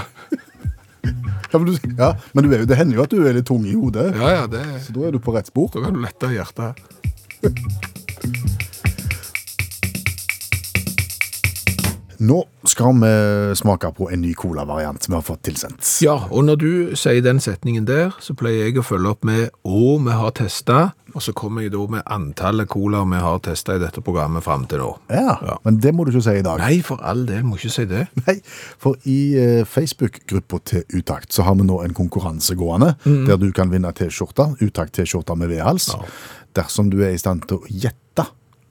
Ja, men, du, ja, men du er, jo- det hender jo at du er litt tung i hodet. Ja, ja, det Så da er du på rett spor. Da kan du lette hjertet. Nå skal vi smake på en ny colavariant som vi har fått tilsendt. Ja, og når du sier den setningen der, så pleier jeg å følge opp med å vi har testa, og så kommer jeg da med antallet cola vi har testa i dette programmet fram til nå. Ja, Ja. Men det må du ikke si i dag. Nei, for all del, må ikke si det. Nei, for i eh, Facebook-gruppa til Utakt så har vi nå en konkurranse gående, Mm. der du kan vinne T-skjorta, Utakt-T-skjorta med V-hals, dersom du er i stand til å gjette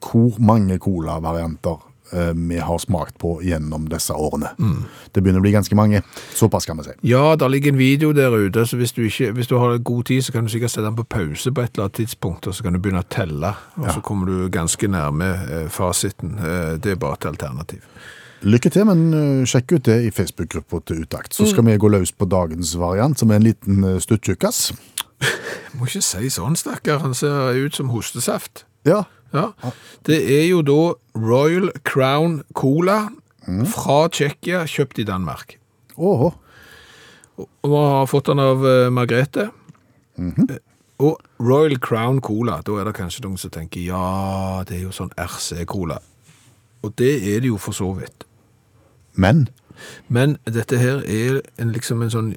hvor mange cola-varianter eh, vi har smakt på gjennom disse årene. Mm. Det begynner å bli ganske mange. Såpass kan vi si. Ja, der ligger en video der ute, så hvis du, ikke, hvis du har god tid, så kan du sikkert sette den på pause på et eller annet tidspunkt, og så kan du begynne å telle, og så kommer du ganske nærme eh, fasiten. Eh, Det er bare et alternativ. Lykke til, men eh, sjekk ut det i Facebook-gruppa til Utakt. Så skal vi gå løs på dagens variant, som er en liten eh, stuttjukkas. Må ikke si sånn, stakkar. Han ser ut som hostesaft. Ja. Ja. Det er jo da Royal Crown Cola fra Tsjekkia, kjøpt i Danmark. Åhå. Og vi har fått den av eh, Margrethe. Eh, Og Royal Crown Cola, da er det kanskje noen som tenker ja, det er jo sånn RC-cola. Og det er det jo for så vidt. Men Men dette her er en, liksom en sånn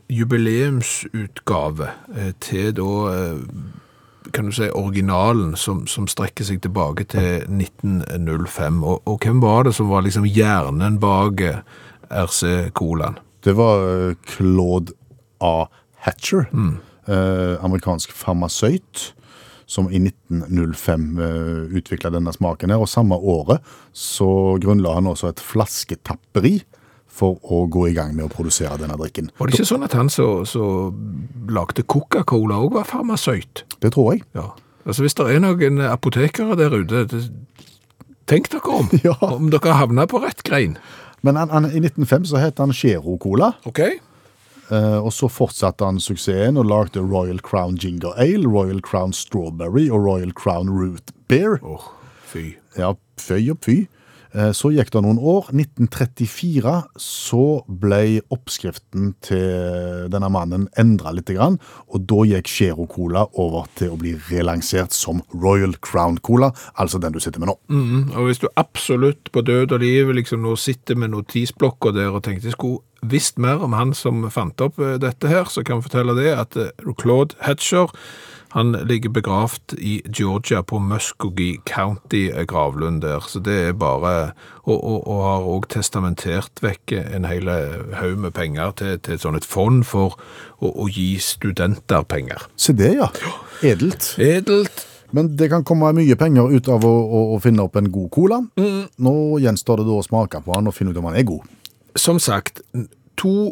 jubileumsutgave eh, til da eh, kan du si originalen som, som strekker seg tilbake til 1905. Og, og hvem var det som var liksom hjernen bak eh, RC Colaen? det var eh, Claude A. Hatcher, eh, amerikansk farmasøyt, som i 1905 eh, utvikla denne smaken her. Og samme året så grunnla han også et flasketapperi for å gå i gang med å produsere denne drikken. Var det ikke sånn at han som som lagde Coca-Cola òg var farmasøyt? Det tror jeg. Ja. Altså Hvis det er noen apotekere der ute, det, tenk dere om. Ja. Om dere havner på rett grein. Men han, han, i 1905 så het han Chero Cola. Ok? Eh, og så fortsatte han suksessen og lagde Royal Crown Ginger Ale, Royal Crown Strawberry og Royal Crown Root Beer. Åh, fy. Ja, føy og fy. Eh, Så gikk det noen år. 1934 så ble oppskriften til denne mannen endra litt, grann, og da gikk Zero Cola over til å bli relansert som Royal Crown Cola, altså den du sitter med nå. Mhm, og hvis du absolutt på død og liv liksom nå sitter med notisblokker der og tenkte jeg skulle visst mer om han som fant opp eh, dette her, så kan jeg fortelle det at eh, Claude Hatcher, han ligger begravd i Georgia på Muskogee County eh, gravlund der, så det er bare, og, og, og har også testamentert vekk en hele haug med penger til, til et sånn et fond for å, å gi studenter penger. Se det, ja. Edelt. Edelt, Men det kan komme mye penger ut av å, å, å finne opp en god cola. Mm. Nå gjenstår det da å smake på den og finne ut om den er god. som sagt,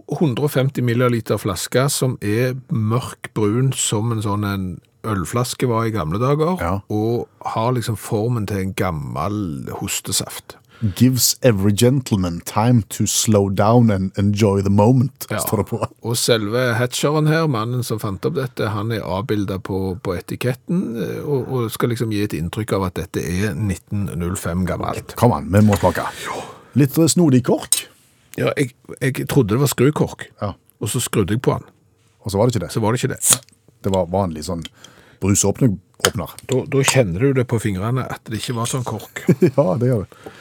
250 milliliter flaske som er mørk brun som en sånn en ølflaske var i gamle dager, Ja. og har liksom formen til en gammel hostesaft. Gives every gentleman time to slow down and enjoy the moment, Ja. står det på. Og selve hatcheren her, mannen som fant opp dette, han er avbildet på, på etiketten, eh, og, og skal liksom gi et inntrykk av at dette er 1905 gammelt. Kom an, vi må smake. Litt snodig kork, Ja, jeg, jeg trodde det var skrukork, Ja. og så skrudde jeg på den, og så var det ikke det. så var det ikke det. Det var vanlig sånn brusåpner. Åpner. Da, da kjenner du det på fingrene at det ikke var sånn kork. ja, det gjør det.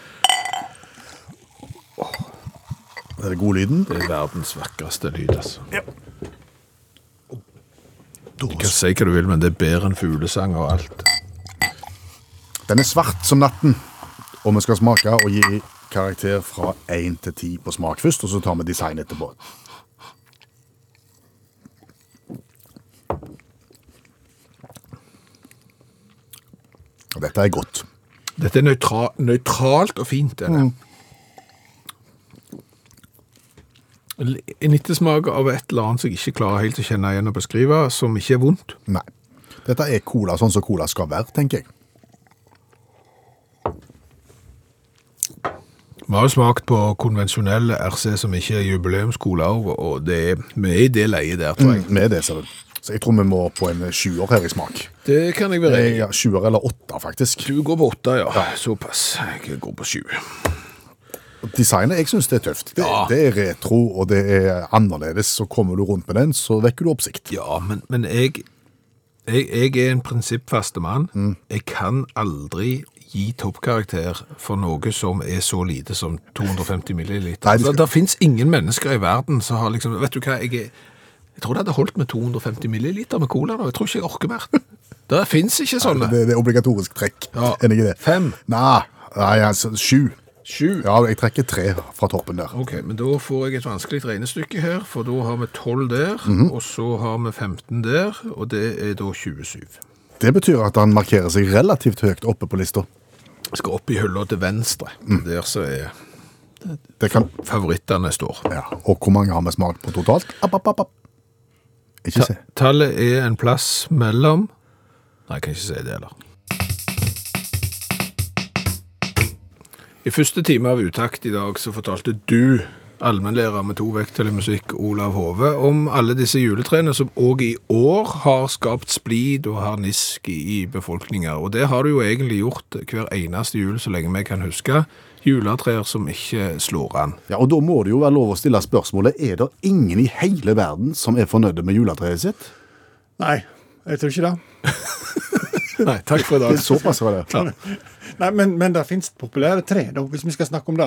Er det god lyden? Det er verdens vakreste lyd, altså. Du kan si hva du vil, men det er bedre enn fuglesang og alt. Den er svart som natten, og vi skal smake og gi karakter fra 1 til 10 på smak først, og så tar vi design etterpå. Og Dette er godt. Dette er nøytra nøytralt og fint. Er det. Mm. L- En ettersmak av et eller annet som jeg ikke klarer helt å kjenne igjen og beskrive, som ikke er vondt. Nei. Dette er cola sånn som cola skal være, tenker jeg. Vi har jo smakt på konvensjonell RC som ikke er jubileumscola, og- og det er, vi er i det leiet der, tror jeg. Med det, ser du. Så jeg tror vi må på en sjuer her i smak. Det kan jeg være enig i. Ja, Sjuer eller åtter, faktisk. Du går på åtte, ja. Såpass. Jeg går på sju. Designet, jeg syns det er tøft. Det, Ja. det er retro, og det er annerledes. Så kommer du rundt med den, så vekker du oppsikt. Ja, men, men jeg, jeg, jeg er en prinsippfaste mann. Mm. Jeg kan aldri gi toppkarakter for noe som er så lite som 250 milliliter. Altså, Nei, det det skal- finnes ingen mennesker i verden som har liksom, vet du hva, jeg, er- jeg tror det hadde holdt med 250 milliliter med cola da, jeg tror ikke jeg orker mer. Det finnes ikke sånne. Det, det er obligatorisk trekk. Ja. Enig i det. Fem. Nei, nei altså, sju. Sju. Ja, jeg trekker tre fra toppen der. Ok, men da får jeg et vanskelig regnestykke her, for da har vi 12 der, Mhm. og så har vi 15 der, og det er da 27. Det betyr at han markerer seg relativt høyt oppe på lista. Skal opp i hullet til venstre, Mm. der så er Det kan, favorittene står. ja. Og hvor mange har vi smakt på totalt? App, app, app, app. Ikke se. Tallet er en plass mellom Nei, jeg kan ikke si det heller. I første time av Utakt i dag så fortalte du, allmennlærer med to vekttall i musikk, Olav Hove, om alle disse juletrærne som òg i år har skapt splid og harnisk i befolkninga. Og det har du jo egentlig gjort hver eneste jul så lenge vi kan huske. Juletrær som ikke slår an. Ja, og da må det jo være lov å stille spørsmålet, er det ingen i hele verden som er fornøyde med juletreet sitt? Nei, jeg tror ikke det. Nei, takk for i Det er såpass var det. Nei, men, men det fins populære tre. Da, hvis vi skal snakke om det,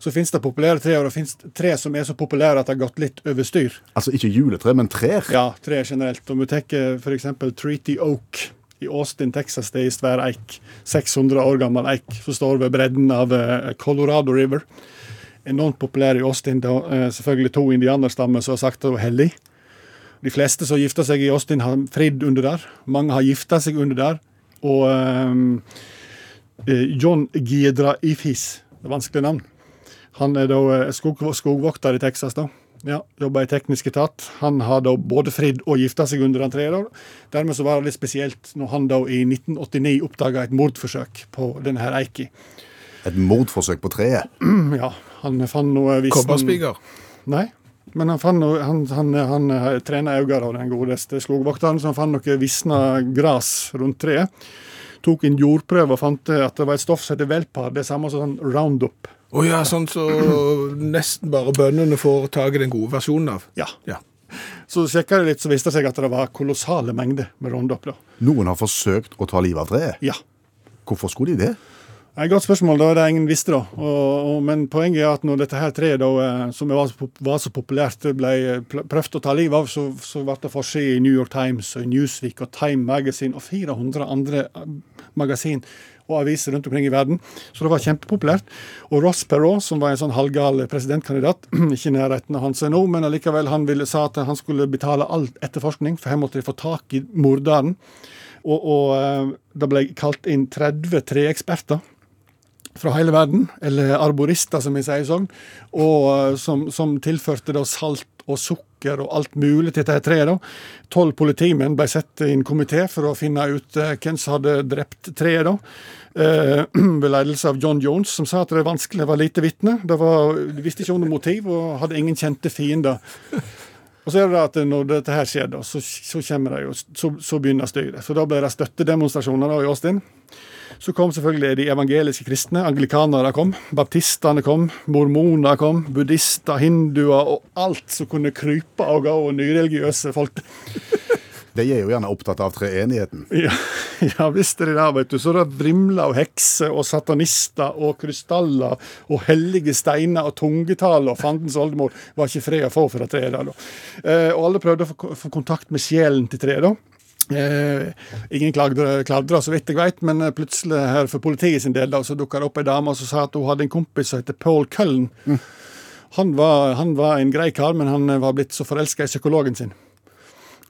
så fins det populære tre, og det fins tre som er så populære at det har gått litt over styr. Altså ikke juletre, men trær. Ja, tre generelt. Om du tar f.eks. Treaty Oak i Austin, Texas, det er ei svær eik. 600 år gammel eik som står ved bredden av eh, Colorado River. Enormt populær i Austin. Det er eh, selvfølgelig to indianerstammer som har sagt det var hellig. De fleste som gifta seg i Austin, har fridd under der. Mange har gifta seg under der. Og eh, eh, John Giedra Ifis, det er vanskelig navn. Han er da eh, skog, skogvokter i Texas. da. Ja, Jobber i teknisk etat. Han har da både fridd og gifta seg under han treet. da. Dermed så var det litt spesielt når han da i 1989 oppdaga et mordforsøk på denne her Eiki. Mm, Et mordforsøk på treet. Ja, han fant noe visst- Kobberspiker. Nei, men han, fant noe, han, han, han eh, trener øynene av den godeste skogvokteren, så han fant noe visna gras rundt treet. tok en jordprøve og fant eh, at det var et stoff som heter velpar. Det samme som sånn roundup. Å ja, sånn så nesten bare bøndene får tak i den gode versjonen av. Ja. Ja. Så sjekka jeg litt, så viste det seg at det var kolossale mengder med roundup. da. Noen har forsøkt å ta livet av treet. Ja. Hvorfor skulle de det? Et godt spørsmål, da, det ingen visste. da. Og, og, men poenget er at når dette her treet, da, eh, som var så, pop- var så populært, ble eh, pl- prøvd å ta livet av, så, så ble det forside i New York Times og i Newsweek og Time Magazine og 400 andre eh, magasin og aviser rundt omkring i verden. Så det var kjempepopulært. Og Ross Perot, som var en sånn halvgal presidentkandidat, ikke i nærheten av hans nå, men allikevel han ville, sa at han skulle betale all etterforskning, for her måtte de få tak i morderen. Og, og eh, det ble kalt inn 30 treeksperter fra hele verden, eller arborister, som vi sier i Sogn, og eh, som, som tilførte da salt og sukker og alt mulig til dette treet. da. Tolv politimenn ble satt i en komité for å finne ut eh, hvem som hadde drept treet. da. Eh, ved ledelse av John Jones, som sa at det var vanskelig, det var lite vitne. Det var- De visste ikke om noe motiv og hadde ingen kjente fiender. Og så er det da at når dette her skjer, da, så, så, kommer det jo, så, så begynner styret. Så da ble det støttedemonstrasjoner da i Austin. Så kom selvfølgelig de evangeliske kristne. Anglikanere kom, baptistene kom, mormoner kom, buddhister, hinduer og alt som kunne krype og gå, og nyreligiøse folk. De er jo gjerne opptatt av treenigheten. Ja, ja visst er det det, vet du. Så det vrimla og hekser og satanister og krystaller og hellige steiner og tungetale og fandens oldemor var ikke fred å få for det treet der, da. Eh, og alle prøvde å få, få kontakt med sjelen til treet, da. Eh, ingen klagde, kladra, så vidt jeg vet, men eh, plutselig her for politiet sin del da, så dukka det opp ei dame som sa at hun hadde en kompis som heter Paul Cullen. Han, var, han var en grei kar, men han eh, var blitt så forelska i psykologen sin.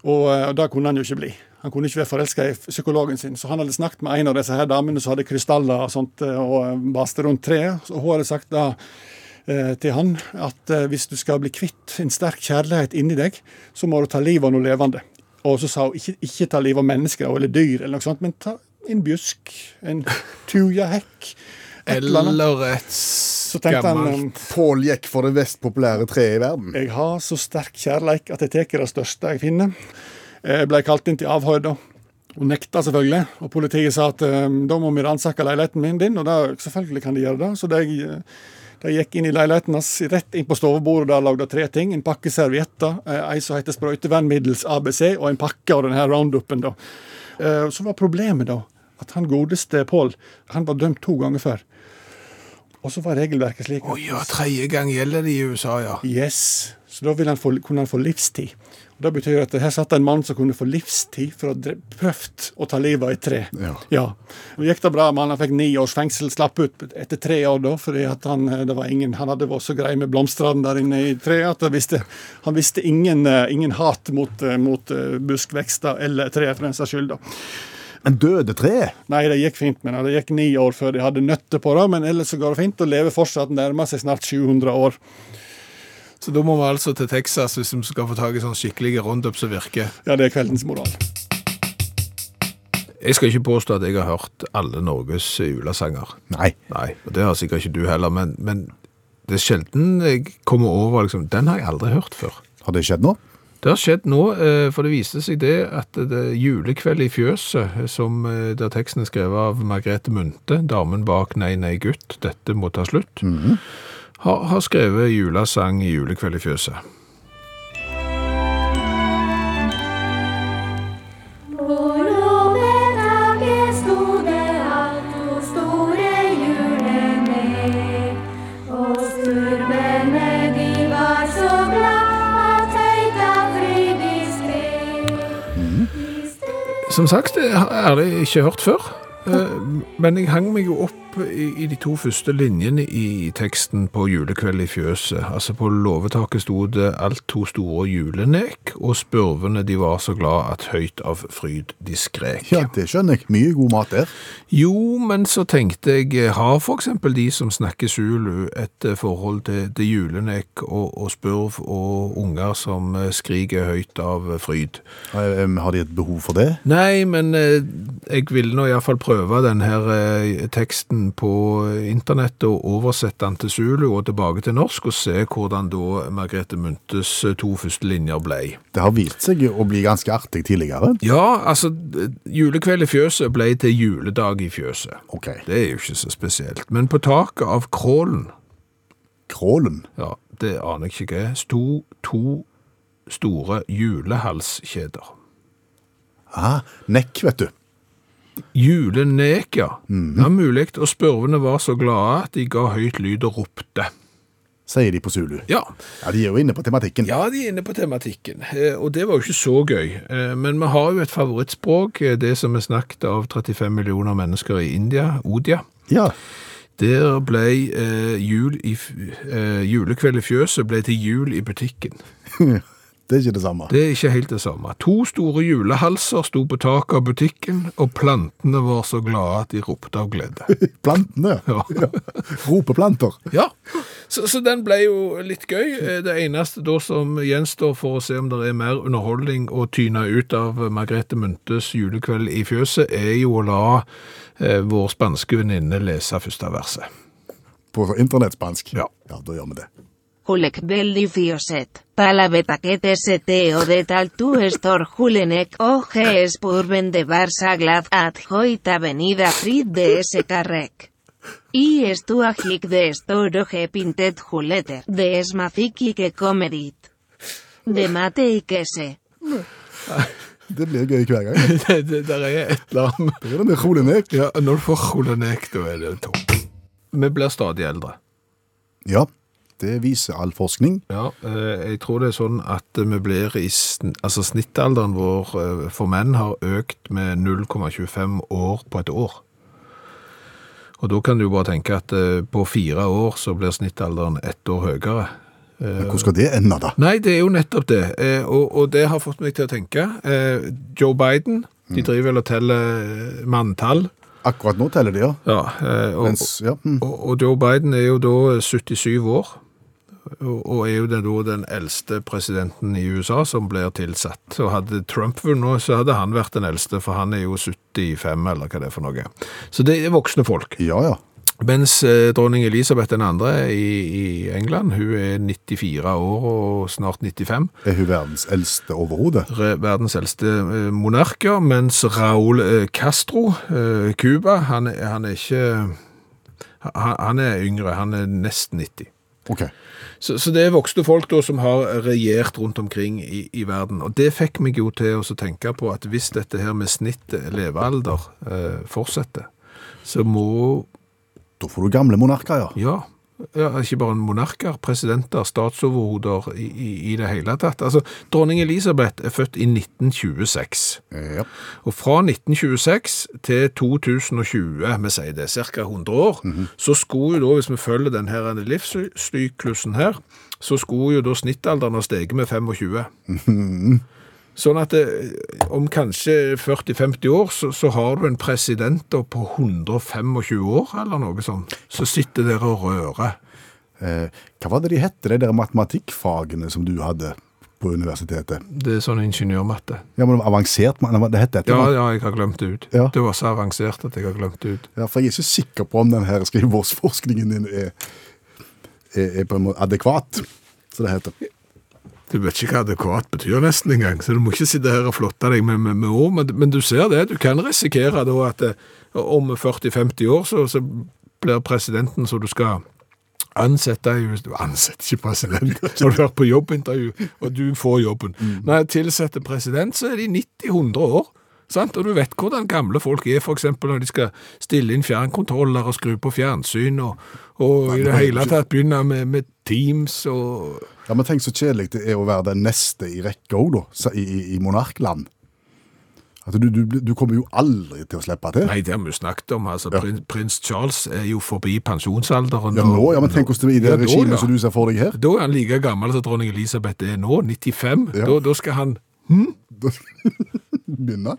Og, eh, og det kunne han jo ikke bli. Han kunne ikke være forelska i psykologen sin. Så han hadde snakket med en av disse her damene som hadde krystaller og sånt, eh, og baste rundt treet. Og hun hadde sagt da eh, til han at eh, hvis du skal bli kvitt en sterk kjærlighet inni deg, så må du ta livet av noe levende. Og så sa hun ikke, ikke ta livet av mennesker eller dyr, eller noe sånt, men ta en bjøsk, en tujahekk, et eller annet. Eller et Så tenkte han gammelt eh, Pål gikk for det mest populære treet i verden. Jeg har så sterk kjærleik at jeg tar det største jeg finner. Jeg ble kalt inn til avhør da. Hun nekta selvfølgelig, og politiet sa at eh, da må vi ransake leiligheten min din, og da, selvfølgelig kan de gjøre det. Så de, eh, de gikk inn i leiligheten hans, rett inn på stovebordet, der lå det tre ting. En pakke servietter, eh, ei som heter sprøytevernmiddels ABC, og en pakke av denne roundupen, da. Eh, Så var problemet, da, at han godeste Pål, han var dømt to ganger før. Og så var regelverket slik Å ja, tredje gang gjelder det i USA, ja. Yes. Så da ville han få, kunne han få livstid. Og Det betyr at her satt en mann som kunne få livstid for å ha prøvd å ta livet av et tre. Ja. Og gikk det bra med han, han fikk ni års fengsel, slapp ut etter tre år da, fordi at han, eh, det var ingen, han hadde vært så grei med blomstene der inne i treet at han visste, han visste ingen, eh, ingen hat mot, eh, mot eh, buskvekster eller treet for den saks skyld. da. Men døde tre? Nei, det gikk fint med det. Det gikk ni år før de hadde nøtter på det, men ellers så går det fint og lever fortsatt nærmer seg snart 700 år. Så da må vi altså til Texas hvis vi skal få tak i sånn skikkelige roundup som virker. Ja, det er kveldens moral. Jeg skal ikke påstå at jeg har hørt alle Norges julesanger. Nei. Nei, og det har sikkert ikke du heller, men, men det er sjelden jeg kommer over liksom, Den har jeg aldri hørt før. Har det skjedd nå? Det har skjedd nå, eh, for det viste seg det at det er julekveld i fjøset, som eh, der teksten er skrevet av Margrethe Munthe, damen bak Nei, nei, gutt, dette må ta slutt, har, har skrevet julesang i julekveld i fjøset. På låvedagen stod det alt store hjulet ned. Og sturbene de var så glad at høyta fryd de skred. Som sagt, det har jeg ikke hørt før. Eh, Men jeg hang meg jo opp i i de to første linjene i teksten på Julekveld i fjøset. Altså På låvetaket sto det alt to store julenek, og spurvene de var så glad at høyt av fryd de skrek. Ja, det skjønner jeg. Mye god mat der. Jo, men så tenkte jeg, eh, har for eksempel de som snakker Zulu et eh, forhold til, til julenek og, og spurv og unger som eh, skriker høyt av eh, fryd? Eh, em, Har de et behov for det? Nei, men eh, jeg ville nå iallfall prøve den her eh, teksten den på internett og oversett den til Zulu og tilbake til norsk, og se hvordan da Margrethe Munthes to første linjer blei. Det har vist seg å bli ganske artig tidligere. Ja, altså, d- julekveld i fjøset blei til juledag i fjøset. Ok, Det er jo ikke så spesielt. Men på taket av krålen, Krålen. ja, det aner jeg ikke hva er, sto to store julehalskjeder. Ah, nekk, vet du. Julenek, ja. Det er mulig, og spurvene var så glade at de ga høyt lyd og ropte. Sier de på Zulu. Ja, Ja, de er jo inne på tematikken. Ja, de er inne på tematikken, eh, og det var jo ikke så gøy. Eh, Men vi har jo et favorittspråk, eh, det som er snakket av 35 millioner mennesker i India, Odia. Ja. Der ble eh, jul i, f- eh, julekveld i fjøset ble til jul i butikken. Det er ikke det samme. Det er ikke helt det samme. To store julehalser sto på taket av butikken, og plantene var så glade at de ropte av glede. Plantene. Ja. Ropeplanter. Ja, så, så den ble jo litt gøy. Eh, Det eneste da som gjenstår for å se om det er mer underholdning å tyne ut av Margrethe Munthes julekveld i fjøset, er jo å la eh, vår spanske venninne lese første verset. På internettspansk. Ja. ja, da gjør vi det. Julekveld i fjøset, palavetaket sete og det alt du står julenek og spurven de varsa glad at hoit avenida frid de ese karrek. I estua hik de storo he pintet juleter de esmafiki que comedit. De mate i kese. Det blir gøy hver gang. det, det der er et eller annet Det er det med Rolenek. Ja, når du får holonek, da er det topp. Vi blir stadig eldre. Ja, det viser all forskning. Ja, eh, jeg tror det er sånn at vi blir i sn Altså snittalderen vår eh, for menn har økt med 0,25 år på et år. Og da kan du jo bare tenke at eh, på fire år så blir snittalderen ett år høyere. Men Hvordan skal det ende, da? Nei, det er jo nettopp det, eh, og, og det har fått meg til å tenke. Eh, Joe Biden, de driver vel og teller eh, manntall. Akkurat nå teller det, ja. Ja, eh, og, Mens, ja. mm. og, og Joe Biden er jo da 77 år, og, og er jo den, da den eldste presidenten i USA som blir tilsatt. Og hadde Trump vært nå, så hadde han vært den eldste, for han er jo 75, eller hva det er for noe. Så det er voksne folk. Ja, ja. Mens eh, dronning Elisabeth den andre i, i England, hun er 94 år og snart 95. Er hun verdens eldste overhodet? re- verdens eldste eh, monarker, mens Raúl eh, Castro, eh, Cuba, han, er- han er ikke han, han er yngre, han er nesten 90. Ok. Så, så det er voksne folk da som har regjert rundt omkring i, i verden, og det fikk meg jo til å så tenke på at hvis dette her med snitt levealder eh, fortsetter, så må, Da får du gamle monarker, ja. ja, ja, ikke bare monarker, presidenter, statsoverhoder i, i, i det hele tatt. Altså, dronning Elisabeth er født i 1926. Ja, Og fra 1926 til 2020, vi sier det, ca. 100 år, så skulle jo da, hvis vi følger denne livssyklusen her, så skulle jo da snittalderen ha steget med 25. Sånn at det, om kanskje 40-50 år, så, så har du en president da på 125 år, eller noe sånt, så sitter der og rører. Eh, hva var det de hette, de der matematikkfagene som du hadde på universitetet? Det er sånn ingeniørmatte. Ja, men det var avansert, men det hette et eller Ja, annet. ja, jeg har glemt det ut. Ja. Det var så avansert at jeg har glemt det ut. Ja, for jeg er ikke sikker på om den her skrivebordsforskningen din er, er, er på en måte adekvat, så det heter. Du vet ikke hva adekvat betyr nesten engang, så du må ikke sitte her og flotte deg med, med, med ord, men, men du ser det, du kan risikere da at eh, om 40-50 år så, så blir presidenten som du skal ansette i Du ansetter ikke president når du er på jobbintervju, og du får jobben. Når jeg tilsetter president, så er de 90-100 år. Sant? Og du vet hvordan gamle folk er, f.eks. når de skal stille inn fjernkontroller og skru på fjernsyn, og, og i det hele tatt begynne med, med Teams og Ja, men tenk så kjedelig det er å være den neste i rekka òg, da, sa- i, i, i monarkland. At du, du, du kommer jo aldri til å slippe til. Nei, det har vi jo snakket om. Altså, prins, prins Charles er jo forbi pensjonsalderen. Ja, og- nå, ja, men tenk hvordan det er i det Ja, da, regimet ja. som du ser for deg her. Da er han like gammel som dronning Elisabeth er nå, 95. Ja. Da, da skal han Begynne.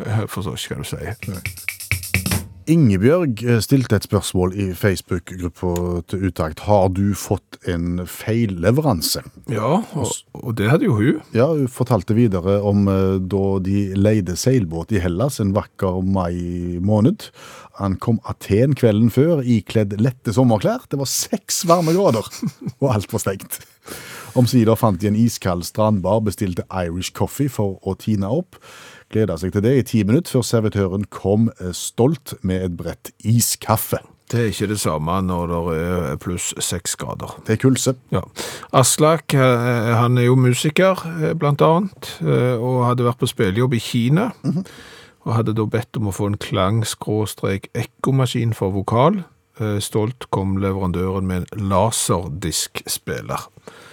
Jeg forstår ikke hva du sier. Ingebjørg eh, stilte et spørsmål i Facebook-gruppa til Utakt. Har du fått en feilleveranse? Ja, og, og det hadde jo hun. Ja, hun fortalte videre om eh, da de leide seilbåt i Hellas en vakker mai måned. Ankom Aten kvelden før ikledd lette sommerklær. Det var seks varmegrader, og alt var stengt. Omsider fant de en iskald strandbar, bestilte Irish coffee for å tine opp. Gleda seg til det i ti minutter før servitøren kom eh, stolt med et brett iskaffe. Det er ikke det samme når det er pluss seks grader. Det er kulse. Ja. Aslak, eh, han er jo musiker, eh, blant annet, eh, og hadde vært på spillejobb i Kina. Mhm. Og hadde da bedt om å få en klang-ekkomaskin for vokal. Eh, Stolt kom leverandøren med en laserdiskspiller.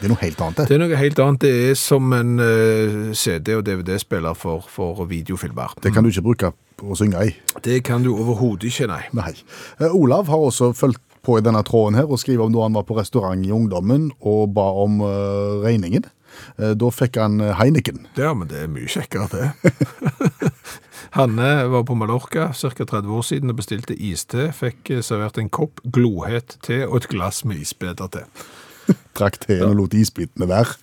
Det er noe helt annet, det. Det er noe helt annet. Det er som en eh, CD- og DVD-spiller for, for videofilmer. Det kan du ikke bruke å synge i. Det kan du overhodet ikke, nei. Nei. Eh, Olav har også fulgt på i denne tråden her og skriver om da han var på restaurant i ungdommen og ba om eh, regningen. Eh, da fikk han eh, Heineken. Ja, men det er mye kjekkere det. Hanne var på Mallorca ca. 30 år siden og bestilte iste. Fikk eh, servert en kopp glohet te og et glass med isbiter til. Trakk teen og lot isbitene være.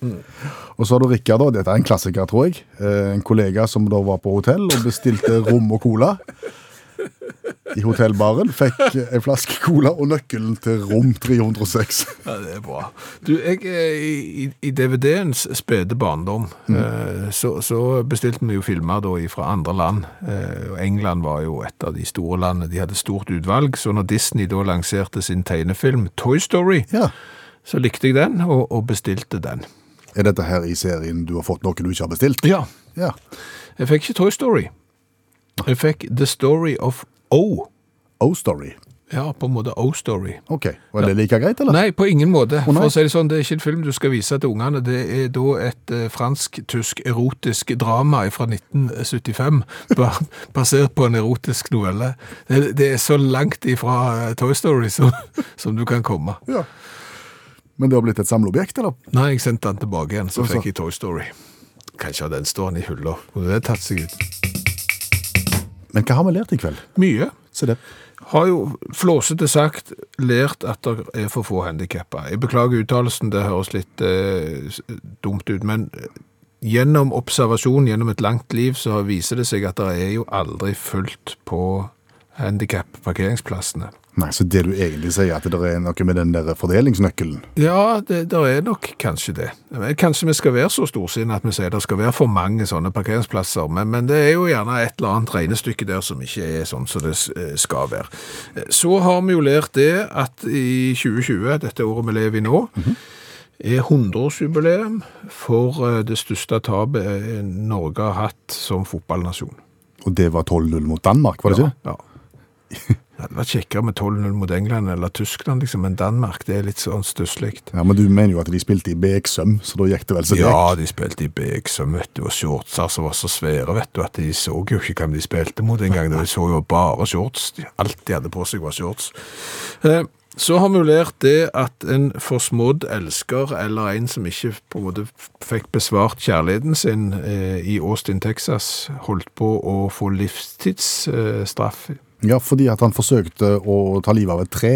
Og så har du Rikard, da. Dette er en klassiker, tror jeg. Eh, en kollega som da var på hotell og bestilte rom og cola. I hotellbaren fikk eh, en flaske cola og nøkkelen til rom 306. Ja, det er bra. Du, jeg, eh, i, i DVD-ens spede barndom, eh, så, så bestilte vi jo filmer da fra andre land. Eh, og England var jo et av de store landene. De hadde stort utvalg, så når Disney da lanserte sin tegnefilm Toy Story, Ja. så likte jeg den, og, og bestilte den. Er dette her i serien du har fått noe du ikke har bestilt? Ja. Ja. Jeg fikk ikke Toy Story. Jeg fikk The Story of O. O-Story. Ja, på en måte O-Story. Oh, Ok. Var det like greit, eller? Nei, på ingen måte. nei. For å si Det sånn, det er ikke en film du skal vise til ungene. Det er da et eh, fransk-tysk erotisk drama fra 1975, ba- basert på en erotisk novelle. Det, det er så langt ifra eh, Toy Story som, som du kan komme. Ja. Men det har blitt et samleobjekt, eller? Nei, jeg sendte den tilbake igjen, så Altså. fikk jeg Toy Story. Kanskje den står den i hylla. Kunne det tatt seg ut? Men hva har vi lært i kveld? Mye. Se det. har jo flåsete sagt lært at det er for få handikappa. Jeg beklager uttalelsen, det høres litt eh, s- dumt ut, men eh, gjennom observasjon, gjennom et langt liv, så viser det seg at det er jo aldri fullt på handikap-parkeringsplassene. Nei, så det du egentlig sier, at det er noe med den der fordelingsnøkkelen. Ja, det der er nok kanskje det. Men Kanskje vi skal være så storsinne at vi sier det skal være for mange sånne parkeringsplasser, men, men det er jo gjerne et eller annet regnestykke der som ikke er sånn som det s- eh, skal være. Eh, Så har vi jo lært det at i 2020, dette året vi lever i nå, Mhm. er 100-årsjubileum for eh, det største tapet eh, Norge har hatt som fotballnasjon. Og det var 12-0 mot Danmark, var det ikke? Ja. Det hadde vært kjekkere med 12-0 mot England eller Tyskland, liksom, men Danmark det er litt sånn stusslig. Ja, men du mener jo at de spilte i Beksøm, så da gikk det vel så det. Ja, de spilte i Beksøm, vet du, og shortser som var så svære, vet du, at de så jo ikke hvem de spilte mot engang. De så jo bare shorts. De- Alt de hadde på seg var shorts. Eh, Så har vi jo lært det at en forsmådd elsker, eller en som ikke på en måte f- fikk besvart kjærligheten sin eh, i Austin, Texas, holdt på å få livstidsstraff. eh, Ja, fordi at han forsøkte å ta livet av et tre.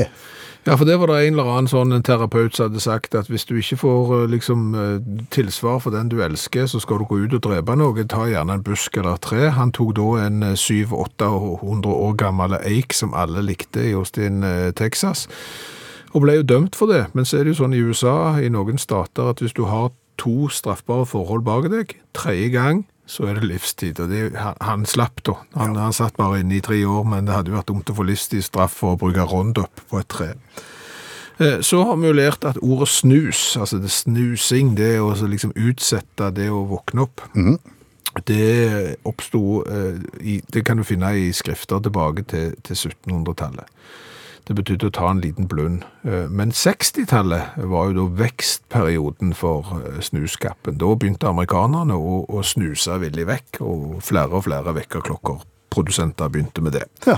Ja, for det var det en eller annen sånn en terapeut som hadde sagt at hvis du ikke får eh, liksom eh, tilsvar for den du elsker, så skal du gå ut og drepe noe. Ta gjerne en busk eller et tre. Han tok da en eh, 700-800 år gammel eik som alle likte i Austin, eh, Texas, og ble jo dømt for det. Men så er det jo sånn i USA, i noen stater, at hvis du har to straffbare forhold bak deg, tredje gang, så er det livstid, og det, han, han slapp da. Han, han satt bare inne i tre år, men det hadde jo vært dumt å få livstidsstraff for å bruke Roundup på et tre. Eh, Så har vi jo lært at ordet snus, altså det snusing, det å så liksom utsette det å våkne opp, det oppstod, eh, i, det kan du finne i skrifter tilbake til, til 1700-tallet. Det betydde å ta en liten blund. Eh, Men 60-tallet var jo da vekstperioden for eh, snuskappen. Da begynte amerikanerne å, å snuse villig vekk, og flere og flere vekkerklokkerprodusenter begynte med det. Ja.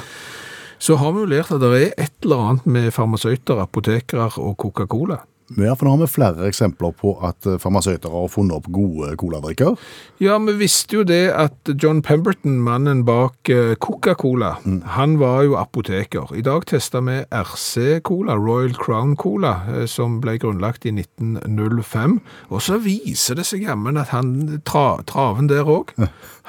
Så har vi jo lært at det er et eller annet med farmasøyter, apotekere og Coca-Cola. Ja, for nå har vi flere eksempler på at eh, farmasøyter har funnet opp gode coladrikker. Ja, vi visste jo det at John Pemberton, mannen bak eh, Coca-Cola, Mm. han var jo apoteker. I dag tester vi RC-Cola, Royal Crown Cola, eh, som ble grunnlagt i 1905. Og så viser det seg jammen at han, tra, traven der òg,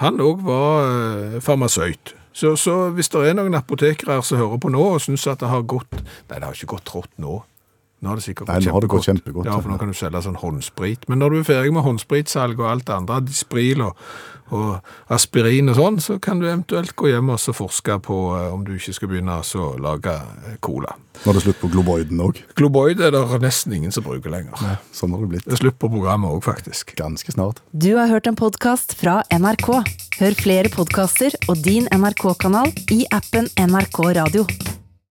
han òg var eh, farmasøyt. Så, så hvis det er noen apotekere her som hører på nå og syns at det har gått Nei, det har ikke gått rått nå. Nå har det sikkert Nei, gått nå har det gått kjempegodt. kjempegodt. Ja, for nå kan du selge sånn håndsprit. Men når du er ferdig med håndspritsalg og alt det andre, Dispril og, og aspirin og sånn, så kan du eventuelt gå hjem og så forske på eh, om du ikke skal begynne altså å lage eh, cola. Nå er det slutt på globoiden òg. Globoid er det ingen som bruker lenger. Sånn har det blitt. Det er slutt på programmet òg, faktisk. Ganske snart. Du har hørt en podkast fra NRK. Hør flere podkaster og din NRK-kanal i appen NRK Radio.